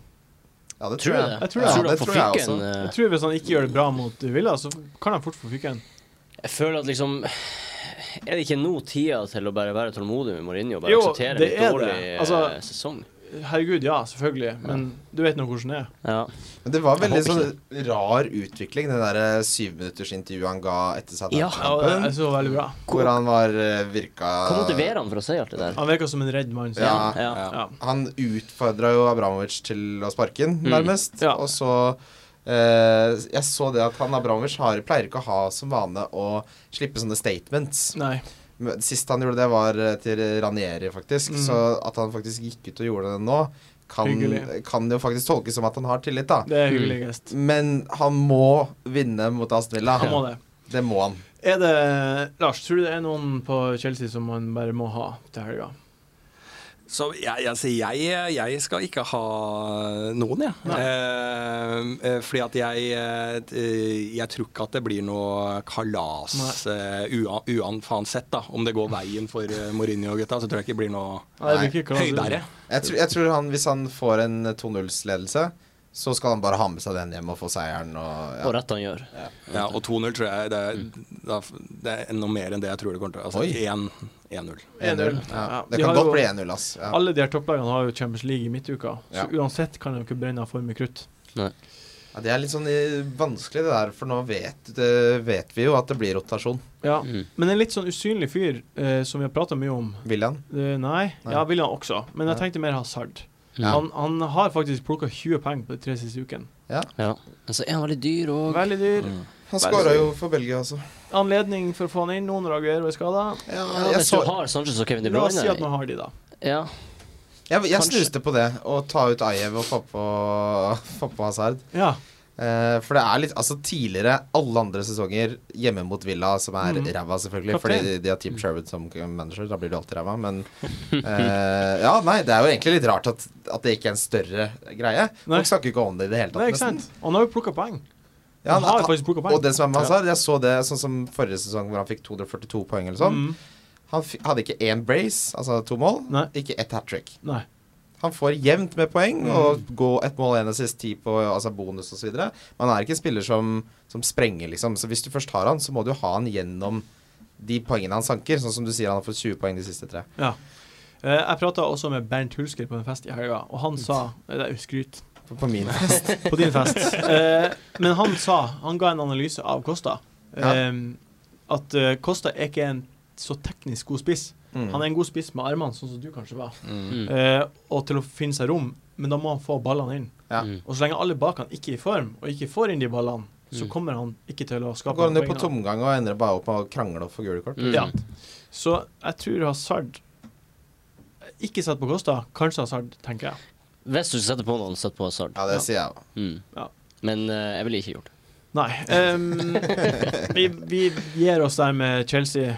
[SPEAKER 5] Ja, det
[SPEAKER 2] Tror du det?
[SPEAKER 5] jeg.
[SPEAKER 1] Jeg tror
[SPEAKER 5] ja,
[SPEAKER 1] det.
[SPEAKER 2] du
[SPEAKER 5] det
[SPEAKER 2] han får
[SPEAKER 5] tror jeg
[SPEAKER 2] fyken?
[SPEAKER 5] også.
[SPEAKER 2] eh,
[SPEAKER 1] Jeg tror Hvis han ikke gjør det bra mot Villa, så kan han fort få fyken.
[SPEAKER 2] Jeg føler at liksom Er det ikke nå tida til å bare være tålmodig med Mourinho? og Bare
[SPEAKER 1] Jo,
[SPEAKER 2] akseptere
[SPEAKER 1] det
[SPEAKER 2] litt
[SPEAKER 1] er det.
[SPEAKER 2] dårlig eh,
[SPEAKER 1] Altså-
[SPEAKER 2] sesong?
[SPEAKER 1] Herregud, ja, selvfølgelig, men du vet nå hvordan det er.
[SPEAKER 2] Ja.
[SPEAKER 5] Men det var
[SPEAKER 2] Jeg
[SPEAKER 5] veldig sånn
[SPEAKER 2] håper
[SPEAKER 5] rar utvikling, det derre syvminuttersintervjuet han ga etter seg.
[SPEAKER 2] Ja.
[SPEAKER 1] Ja, og det er så veldig bra.
[SPEAKER 5] Hvor han var eh, virka
[SPEAKER 2] Hva motiverer han for å si alt det der?
[SPEAKER 1] Han virker som en redd mann. så-
[SPEAKER 5] Ja.
[SPEAKER 2] Ja.
[SPEAKER 1] Ja.
[SPEAKER 5] Han utfordra jo Abramovic til å sparke den, nærmest.
[SPEAKER 1] Mm. Ja.
[SPEAKER 5] Og så eh, Jeg så det at han Abramovic har, pleier ikke å ha som vane å slippe sånne statements.
[SPEAKER 1] Nei.
[SPEAKER 5] Men Sist han gjorde det, var eh, til Ranieri, faktisk.
[SPEAKER 1] Mm.
[SPEAKER 5] Så at han faktisk gikk ut og gjorde det nå, kan,
[SPEAKER 1] Hyggelig.
[SPEAKER 5] kan jo faktisk tolkes som at han har tillit, da.
[SPEAKER 1] Det er hyggelig gest.
[SPEAKER 5] Men han må vinne mot Aston Villa.
[SPEAKER 1] Han må det.
[SPEAKER 5] Det må han.
[SPEAKER 1] Er det Lars, tror du det er noen på Chelsea som man bare må ha til helga?
[SPEAKER 4] Så jeg, altså jeg, jeg skal ikke ha noen, jeg.
[SPEAKER 1] Nei.
[SPEAKER 4] Eh, eh, fordi at jeg eh, Jeg tror ikke at det blir noe kalas eh, ua- uansett, da. Om det går veien for eh, Mourinho og gutta, så tror jeg ikke det blir noe
[SPEAKER 1] Nei, det blir ikke kalas.
[SPEAKER 4] høydere.
[SPEAKER 5] Jeg, tror- jeg tror han, hvis han får en eh, 2-0-ledelse, så skal han bare ha med seg den hjem og få seieren. Og, ja.
[SPEAKER 2] Og rett han gjør.
[SPEAKER 4] Ja, og 2-0 tror jeg det er, da, det er noe mer enn det jeg tror det kommer til. Altså
[SPEAKER 5] Oi.
[SPEAKER 4] 1 1-0.
[SPEAKER 1] 1-0.
[SPEAKER 5] Ja.
[SPEAKER 1] Ja.
[SPEAKER 5] Det
[SPEAKER 1] De har
[SPEAKER 5] kan godt
[SPEAKER 1] jo-
[SPEAKER 5] bli 1-0, ass. Ja.
[SPEAKER 1] Alle de her topplagene har jo Champions League i midtuka, så
[SPEAKER 5] Ja.
[SPEAKER 1] uansett kan de ikke brenne av for mye krutt.
[SPEAKER 5] Ja, det er litt sånn eh, vanskelig, det der, for nå vet, det vet vi jo at det blir rotasjon.
[SPEAKER 1] Ja.
[SPEAKER 2] Mm.
[SPEAKER 1] Men en litt sånn usynlig fyr eh, som vi har prata mye om
[SPEAKER 5] William.
[SPEAKER 1] Eh, nei.
[SPEAKER 5] Nei.
[SPEAKER 1] Ja, ville han også. Men jeg
[SPEAKER 5] Ja.
[SPEAKER 1] tenkte mer Hazard.
[SPEAKER 2] Ja.
[SPEAKER 1] Han, han har faktisk plukka 20 poeng på de tre siste ukene.
[SPEAKER 2] Ja. Men så er han veldig dyr og
[SPEAKER 1] Veldig dyr.
[SPEAKER 5] Han
[SPEAKER 1] Veldig
[SPEAKER 5] skåra jo for Belgia også.
[SPEAKER 1] Anledning for å få han inn nå når Aguero er skada.
[SPEAKER 5] Ja,
[SPEAKER 2] ja,
[SPEAKER 5] jeg,
[SPEAKER 2] Hvis du
[SPEAKER 5] så,
[SPEAKER 2] har Sanchez og Kevin De
[SPEAKER 1] La oss
[SPEAKER 2] Bruyne
[SPEAKER 1] si at man har de, da.
[SPEAKER 2] ja.
[SPEAKER 5] jeg, jeg
[SPEAKER 2] Kanskje.
[SPEAKER 5] snuste på det, å ta ut Ajev og få på, få på Hazard.
[SPEAKER 1] Ja.
[SPEAKER 5] Eh, for det er litt Altså, tidligere, alle andre sesonger, hjemme mot Villa, som er
[SPEAKER 1] Mhm.
[SPEAKER 5] ræva, selvfølgelig,
[SPEAKER 1] Kaptein.
[SPEAKER 5] fordi de, de har Team Sherwood som manager, da blir du alltid ræva, men eh, Ja, nei, det er jo egentlig litt rart at, at det ikke er en større greie.
[SPEAKER 1] Nei.
[SPEAKER 5] Folk snakker ikke om det i det hele tatt,
[SPEAKER 1] Nei, ikke sant? Han har jo plukka poeng.
[SPEAKER 5] Ja,
[SPEAKER 1] han har
[SPEAKER 5] han-
[SPEAKER 1] faktisk plukka poeng.
[SPEAKER 5] Og det som er med Hazard, jeg så det sånn som forrige sesong hvor han fikk 242 poeng eller sånn.
[SPEAKER 1] Mm.
[SPEAKER 5] Han fi- hadde ikke én brace, altså to mål,
[SPEAKER 1] Nei.
[SPEAKER 5] ikke ett hat trick.
[SPEAKER 1] Nei.
[SPEAKER 5] Han får jevnt med poeng
[SPEAKER 1] Mm.
[SPEAKER 5] og gå ett mål, én assist, ti på altså bonus osv. Men han er ikke en spiller som, som sprenger, liksom. Så hvis du først har han, så må du ha han gjennom de poengene han sanker. Sånn som du sier, han har fått 20 poeng de siste tre.
[SPEAKER 1] Ja. Eh, jeg prata også med Bernt Hulsker på en fest i helga, og
[SPEAKER 5] Mm.
[SPEAKER 1] han sa eh, Det er jo skryt.
[SPEAKER 5] På, på min.
[SPEAKER 1] På din fest. Eh, men han sa Han ga en analyse av Kosta.
[SPEAKER 5] Ja.
[SPEAKER 1] Eh, At eh, Kosta er ikke en så teknisk god spiss.
[SPEAKER 5] Mm.
[SPEAKER 1] Han er en god spiss med armene, sånn som du kanskje var,
[SPEAKER 2] Mm.
[SPEAKER 1] eh, og til å finne seg rom, men da må han få ballene inn.
[SPEAKER 5] Ja.
[SPEAKER 2] Mm.
[SPEAKER 1] Og så lenge alle bak han ikke er i form, og ikke får inn de ballene, så
[SPEAKER 2] Mm.
[SPEAKER 1] kommer han ikke til å
[SPEAKER 5] Da
[SPEAKER 1] skape
[SPEAKER 5] går han jo
[SPEAKER 1] noen
[SPEAKER 5] på
[SPEAKER 1] poeng, da.
[SPEAKER 5] tomgang og ender bare opp med å krangle og få gule kort.
[SPEAKER 2] Mm.
[SPEAKER 1] Ja. Så jeg tror Hazard Ikke sett på Kosta, kanskje Hazard, tenker jeg.
[SPEAKER 2] Hvis du skal sette på noen, sett på Hazard.
[SPEAKER 5] Ja, det sier jeg òg.
[SPEAKER 2] Mm.
[SPEAKER 1] Ja.
[SPEAKER 2] Men eh, jeg ville ikke gjort det.
[SPEAKER 1] Nei. ehm, vi, vi gir oss der med Chelsea.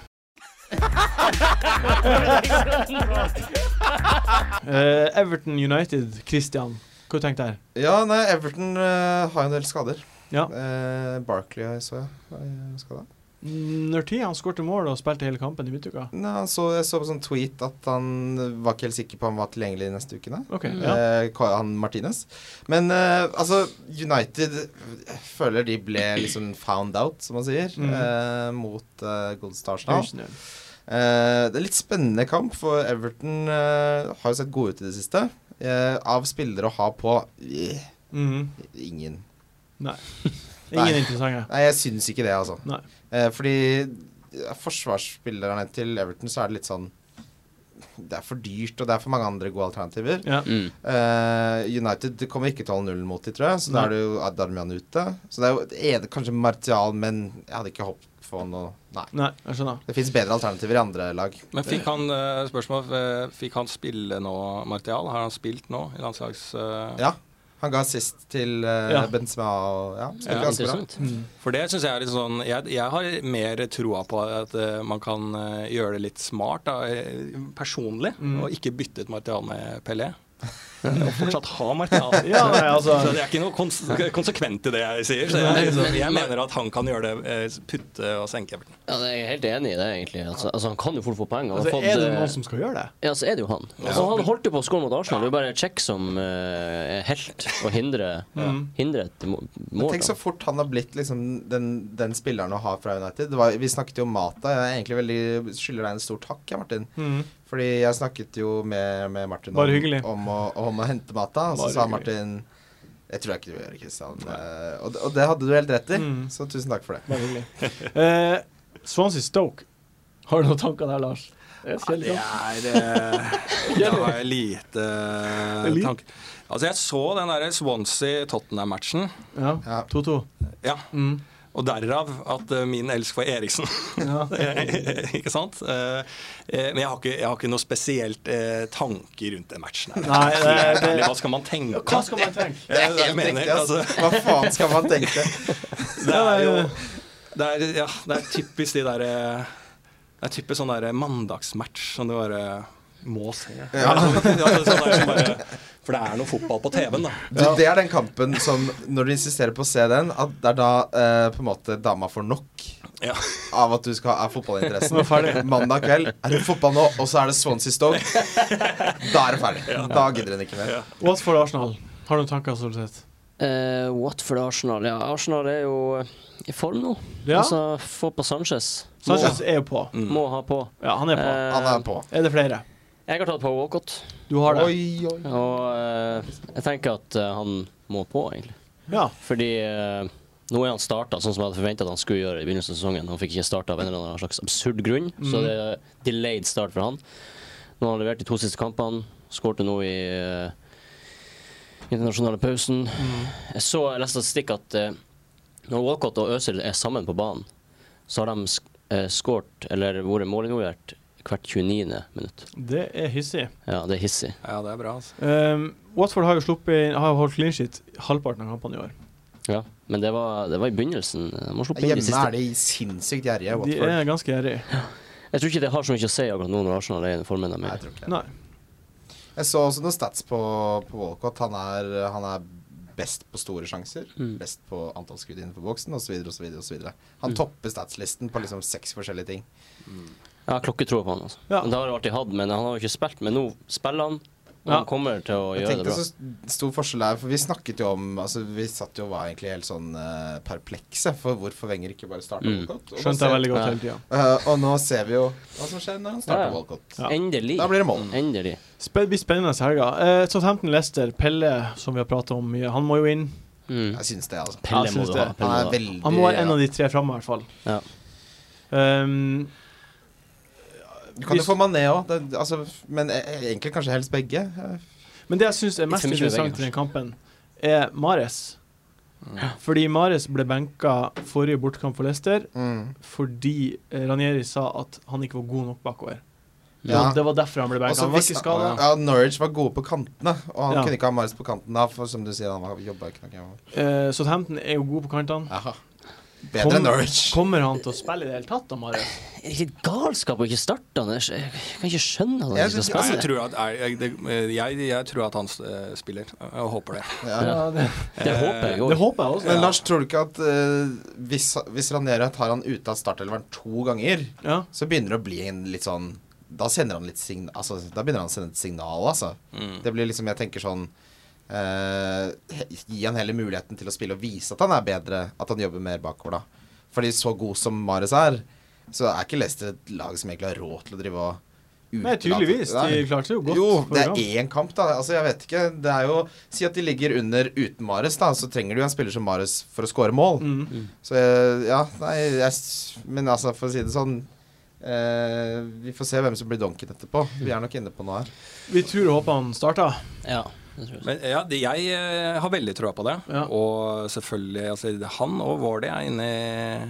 [SPEAKER 1] Eh, Everton United, Christian. Hva tenkte jeg?
[SPEAKER 5] Ja, nei, Everton eh, har en del skader.
[SPEAKER 1] Ja.
[SPEAKER 5] Eh, Barkley så jeg. var skada.
[SPEAKER 1] Når tid han skårte mål og spilte hele kampen i midtuka?
[SPEAKER 5] Nei, han så, jeg så på sånn tweet at han var ikke helt sikker på om han var tilgjengelig de neste ukene.
[SPEAKER 1] OK. Mm. Ja.
[SPEAKER 5] Eh, Ka- han Martinez. Men eh, altså, United jeg føler de ble liksom found out, som man sier,
[SPEAKER 1] Mm.
[SPEAKER 5] eh, mot eh, Gold Stars nå.
[SPEAKER 1] Arsenal.
[SPEAKER 5] Eh, det er litt spennende kamp, for Everton eh, har jo sett gode ut i det siste. Eh, av spillere å ha på eh,
[SPEAKER 1] Mhm.
[SPEAKER 5] ingen.
[SPEAKER 1] Ingen
[SPEAKER 5] Nei.
[SPEAKER 1] interessante.
[SPEAKER 5] Nei, jeg syns ikke det, altså.
[SPEAKER 1] Nei.
[SPEAKER 5] Eh, fordi eh, forsvarsspillerne til Everton, så er det litt sånn Det er for dyrt, og det er for mange andre gode alternativer.
[SPEAKER 1] Ja.
[SPEAKER 2] Mm.
[SPEAKER 5] Eh, United kommer ikke til å holde nullen mot dem, tror jeg. Så da
[SPEAKER 1] Nei.
[SPEAKER 5] er det jo Darmian ute. Så det er jo det ene- kanskje Martial, men jeg hadde ikke håpet på noe Nei.
[SPEAKER 1] Nei, jeg skjønner.
[SPEAKER 5] Det fins bedre alternativer i andre lag.
[SPEAKER 4] Men fikk han eh, spørsmål, eh, fikk han spille nå, Martial? Har han spilt nå i landslags... eh,
[SPEAKER 5] Ja. Han ga sist til eh,
[SPEAKER 1] Ja.
[SPEAKER 5] Benzema og Ja, spilte
[SPEAKER 4] Ja,
[SPEAKER 5] ganske bra.
[SPEAKER 2] Interessant.
[SPEAKER 1] Mhm.
[SPEAKER 4] For det syns jeg er litt sånn jeg, jeg har mer troa på at eh, man kan eh, gjøre det litt smart da, eh, personlig,
[SPEAKER 1] Mm.
[SPEAKER 4] og ikke bytte ut Martial med Pelé. Og fortsatt ha Martial.
[SPEAKER 1] Ja, nei, altså.
[SPEAKER 4] Så det er ikke noe kons konsekvent i det jeg sier. Så jeg, liksom, jeg mener at han kan gjøre det, eh, putte og senke Everton.
[SPEAKER 2] Ja, det er jeg helt enig i det, egentlig. Altså, altså, han kan jo fort få poeng. Han har
[SPEAKER 1] Altså,
[SPEAKER 2] fått,
[SPEAKER 1] er det
[SPEAKER 2] eh,
[SPEAKER 1] noen som skal gjøre det?
[SPEAKER 2] Ja, så er det jo han. Altså, han holdt jo på å skåre mot Arsenal. Det er jo bare Check som eh, er helt og hindrer
[SPEAKER 1] Mhm.
[SPEAKER 2] hindre et må-
[SPEAKER 5] Men
[SPEAKER 2] mål.
[SPEAKER 5] tenk så
[SPEAKER 2] da.
[SPEAKER 5] fort han har blitt liksom den, den spilleren å ha fra United. Det var, vi snakket jo om Mata. Jeg er egentlig veldig skylder deg en stor takk, jeg, Martin.
[SPEAKER 1] Mhm.
[SPEAKER 5] Fordi jeg snakket jo med, med Martin
[SPEAKER 1] Bare
[SPEAKER 5] om,
[SPEAKER 1] hyggelig.
[SPEAKER 5] om, å, om å hente mata, og så
[SPEAKER 1] Bare
[SPEAKER 5] sa
[SPEAKER 1] hyggelig.
[SPEAKER 5] Martin Jeg tror jeg ikke du gjør det, Kristian. Eh, Og, det- og det hadde du helt rett i,
[SPEAKER 1] Mm.
[SPEAKER 5] så tusen takk for det.
[SPEAKER 1] Bare hyggelig. Eh, Swansea Stoke. Har du noen tanker der, Lars? Det er et kjedelig kamp.
[SPEAKER 4] det eh, Da har jeg lite
[SPEAKER 1] Lite?
[SPEAKER 4] tanke. Altså, jeg så den der Swansea-Tottenham-matchen,
[SPEAKER 1] Ja.
[SPEAKER 5] Ja.
[SPEAKER 1] 2-2.
[SPEAKER 4] Ja.
[SPEAKER 1] Mhm.
[SPEAKER 4] og derav at eh, min elsk for Eriksen
[SPEAKER 1] Ja.
[SPEAKER 4] Ikke sant? Eh, eh, Men jeg har ikke, jeg har ikke noe spesielt eh, tanker rundt den matchen. her.
[SPEAKER 1] Nei, det- det-
[SPEAKER 4] Ærlig, Hva skal man tenke?
[SPEAKER 1] Hva skal man tenke?
[SPEAKER 4] Jeg,
[SPEAKER 5] Det er
[SPEAKER 4] jeg
[SPEAKER 5] helt
[SPEAKER 4] mener,
[SPEAKER 5] riktig, ass.
[SPEAKER 4] altså,
[SPEAKER 5] Hva faen skal man tenke?
[SPEAKER 4] det er jo det er, ja, det er typisk de der eh, Det er typisk sånn der mandagsmatch som du bare må se. Ja. altså, sånn der som bare, for det er noe fotball på TV-en, da.
[SPEAKER 5] Du, det er den kampen som Når du insisterer på å se den, at det er da eh, på en måte dama får nok
[SPEAKER 4] Ja.
[SPEAKER 5] av at du skal ha fotballinteressen.
[SPEAKER 1] Nå er ferdig.
[SPEAKER 5] Mandag kveld er det fotball nå, og så er det Swansea Stoke. Da er det ferdig. Da gidder hun ikke mer.
[SPEAKER 1] Watford Arsenal. Har du noen tanker, Solseth?
[SPEAKER 2] Eh, Watford Arsenal. Ja, Arsenal er jo eh, i form nå.
[SPEAKER 1] Ja.
[SPEAKER 2] Altså, få på Sanchez.
[SPEAKER 1] Sanchez er jo på.
[SPEAKER 4] Mm.
[SPEAKER 2] Må ha på.
[SPEAKER 1] Ja, han er på.
[SPEAKER 2] Eh,
[SPEAKER 5] Han er på.
[SPEAKER 1] Er det flere?
[SPEAKER 2] Jeg har tatt på Walcott,
[SPEAKER 1] Du har det?
[SPEAKER 5] Oi, oi.
[SPEAKER 2] og eh, jeg tenker at eh, han må på, egentlig.
[SPEAKER 1] Ja.
[SPEAKER 2] Fordi eh, nå er han starta sånn som jeg hadde forventa han skulle gjøre i begynnelsen av sesongen. Han fikk ikke starta av en eller annen slags absurd grunn, så
[SPEAKER 5] Mhm.
[SPEAKER 2] det er delayed start for han. Nå har han levert de to siste kampene, skårte nå i eh, internasjonale pausen.
[SPEAKER 5] Mhm.
[SPEAKER 2] Jeg så jeg leste statistikk at eh, når Walcott og Øzil er sammen på banen, så har de sk eh, skåret eller vært målinvolvert hvert 29. minutt.
[SPEAKER 1] Det er hissig.
[SPEAKER 2] Ja, det er hissig.
[SPEAKER 4] Ja, det er bra, altså.
[SPEAKER 1] Ehm, Watford har jo sluppet inn, har jo holdt clean sheet halvparten av kampene i år.
[SPEAKER 2] Ja, men det var, det var i begynnelsen. De har sluppet inn de
[SPEAKER 5] Hjemme
[SPEAKER 2] siste.
[SPEAKER 5] er de sinnssykt gjerrige.
[SPEAKER 1] De
[SPEAKER 5] Watford.
[SPEAKER 1] er ganske gjerrige.
[SPEAKER 2] Jeg tror ikke det har så mye å si akkurat nå når Arsenal er i den formen de
[SPEAKER 5] Nei, jeg
[SPEAKER 2] er.
[SPEAKER 5] tror ikke det.
[SPEAKER 1] Nei.
[SPEAKER 5] Jeg så også noen stats på, på Walcott. Han er, han er best på store sjanser.
[SPEAKER 2] Mm.
[SPEAKER 5] Best på antall skudd innenfor boksen osv. osv. Han
[SPEAKER 2] Mm.
[SPEAKER 5] topper statslisten på liksom seks forskjellige ting.
[SPEAKER 2] Jeg har klokketro på han. altså.
[SPEAKER 1] Ja.
[SPEAKER 2] Men Det har jeg alltid hatt, men han har jo ikke spilt. Men nå spiller han, og
[SPEAKER 1] Ja.
[SPEAKER 2] han kommer til å
[SPEAKER 5] Jeg
[SPEAKER 2] gjøre det
[SPEAKER 5] tenkte
[SPEAKER 2] bra.
[SPEAKER 5] så stor forskjell her, for vi snakket jo om altså Vi satt jo og var egentlig helt sånn eh, perplekse for hvorfor Wenger ikke bare starta
[SPEAKER 2] Mm.
[SPEAKER 5] Walcott. Og nå,
[SPEAKER 1] Skjønte jeg
[SPEAKER 5] ser,
[SPEAKER 1] veldig
[SPEAKER 2] Ja.
[SPEAKER 1] godt hele tida.
[SPEAKER 5] eh, og nå ser vi jo hva som skjer når han starter
[SPEAKER 2] Ja, ja.
[SPEAKER 5] Walcott.
[SPEAKER 1] Ja.
[SPEAKER 2] Endelig.
[SPEAKER 5] Da blir det mål.
[SPEAKER 2] Endelig.
[SPEAKER 1] Det blir spennende i helga. Eh, Southampton Lester, Pelle, som vi har prata om mye, han må jo inn.
[SPEAKER 2] Mm.
[SPEAKER 5] Jeg syns det, altså.
[SPEAKER 1] Jeg
[SPEAKER 2] Pelle
[SPEAKER 1] synes
[SPEAKER 2] må du
[SPEAKER 1] det.
[SPEAKER 2] ha.
[SPEAKER 5] Han
[SPEAKER 2] Pelle må du ha.
[SPEAKER 5] er veldig
[SPEAKER 1] Han må være en av de tre framme, i hvert fall.
[SPEAKER 2] Ja.
[SPEAKER 1] Ehm,
[SPEAKER 5] Du kan jo få Mané òg, altså, men eh, egentlig kanskje helst begge. Eh,
[SPEAKER 1] men det jeg syns er mest
[SPEAKER 2] for mye
[SPEAKER 1] interessant i
[SPEAKER 2] Wenger.
[SPEAKER 1] den kampen, er Mares. Fordi Mares ble benka forrige bortkamp for Leicester
[SPEAKER 5] Mm.
[SPEAKER 1] fordi eh, Ranieri sa at han ikke var god nok bakover.
[SPEAKER 5] Ja.
[SPEAKER 1] Og det var derfor han ble benka.
[SPEAKER 5] Også
[SPEAKER 1] Han var
[SPEAKER 5] Altså, hvis,
[SPEAKER 1] ikke
[SPEAKER 5] ja,
[SPEAKER 1] skada.
[SPEAKER 5] Norwich var gode på kantene, og
[SPEAKER 1] Ja.
[SPEAKER 5] han kunne ikke ha Marius på kanten da, for som du sier, han jobba ikke nok hjemme.
[SPEAKER 1] Eh, Southampton er jo god på kantene.
[SPEAKER 5] Jaha. Bedre enn Norwich.
[SPEAKER 1] Kommer han til å spille i det hele tatt, da, Mares?
[SPEAKER 2] Er det ikke galskap å ikke starte han? Jeg kan ikke skjønne at han
[SPEAKER 5] Jeg
[SPEAKER 2] ikke skal
[SPEAKER 5] synes-
[SPEAKER 4] Nei, jeg
[SPEAKER 2] spille.
[SPEAKER 4] tror at, jeg, jeg, det- eh, jeg, jeg tror at han eh, spiller. Jeg håper det.
[SPEAKER 5] Ja. altså,
[SPEAKER 1] det,
[SPEAKER 2] Det håper jeg
[SPEAKER 1] det
[SPEAKER 2] òg.
[SPEAKER 1] håper jeg også.
[SPEAKER 5] Men Lars, tror du ikke at eh, hvis, hvis Ranera tar han ute av startelveren to ganger,
[SPEAKER 1] Ja.
[SPEAKER 5] så begynner det å bli en litt sånn Da sender han litt sign... Altså, da begynner han å sende et signal, altså. Det blir liksom Jeg tenker sånn eh, he- Gi han heller muligheten til å spille og vise at han er bedre, at han jobber mer bakover, da. Fordi så god som Mares er, så er ikke Leicester et lag som egentlig har råd til å drive og
[SPEAKER 1] Nei, tydeligvis.
[SPEAKER 5] Nei.
[SPEAKER 1] De klarte det jo godt.
[SPEAKER 5] Jo, det
[SPEAKER 1] program.
[SPEAKER 5] er én kamp, da. Altså, jeg vet ikke. Det er jo Si at de ligger under uten Mares, da. Så trenger du jo en spiller som Mares for å skåre mål.
[SPEAKER 1] Mm.
[SPEAKER 5] Så jeg, ja, nei jeg, s- Men altså, for å si det sånn eh, Vi får se hvem som blir donken etterpå. Vi er nok inne på noe her.
[SPEAKER 1] Vi tror og håper han starter.
[SPEAKER 2] Ja, det tror jeg.
[SPEAKER 4] Men ja, det- jeg eh, har veldig troa på det.
[SPEAKER 1] Ja.
[SPEAKER 4] Og selvfølgelig altså, det- Han og Vårdi er inni,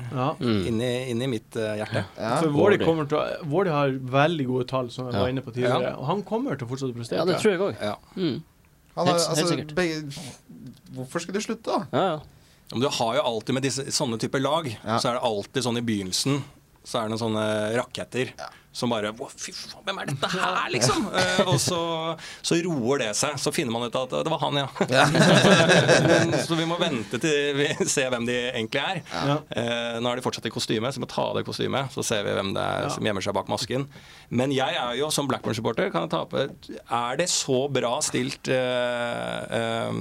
[SPEAKER 1] Ja.
[SPEAKER 2] Mm.
[SPEAKER 4] inni, inni mitt eh, hjerte.
[SPEAKER 5] Ja.
[SPEAKER 1] For Vårdi kommer til å- Vårdi har veldig gode tall, som jeg
[SPEAKER 2] Ja.
[SPEAKER 1] var inne på tidligere. Og han kommer til å fortsette å prestere.
[SPEAKER 2] ja, det tror jeg òg.
[SPEAKER 4] Ja.
[SPEAKER 2] Mm.
[SPEAKER 5] Han har,
[SPEAKER 2] helt- helt
[SPEAKER 5] altså,
[SPEAKER 2] sikkert.
[SPEAKER 5] begge, hvorfor skulle du slutte, da?
[SPEAKER 2] Ja, ja.
[SPEAKER 4] Men du har jo alltid med disse, sånne typer lag,
[SPEAKER 5] Ja.
[SPEAKER 4] så er det alltid sånn i begynnelsen så er det noen sånne raketter som bare «Wow, Fy faen, hvem er dette her, liksom? Eh, og så, så roer det seg. Så finner man ut at eh, det var han, ja. Men, så vi må vente til vi ser hvem de egentlig er.
[SPEAKER 1] Ja.
[SPEAKER 4] Eh, nå er de fortsatt i kostyme, så vi må ta av det kostymet. Så ser vi hvem det er
[SPEAKER 1] Ja.
[SPEAKER 4] som gjemmer seg bak masken. Men jeg er jo, som Blackburn-supporter, kan jeg ta på Er det så bra stilt eh, eh,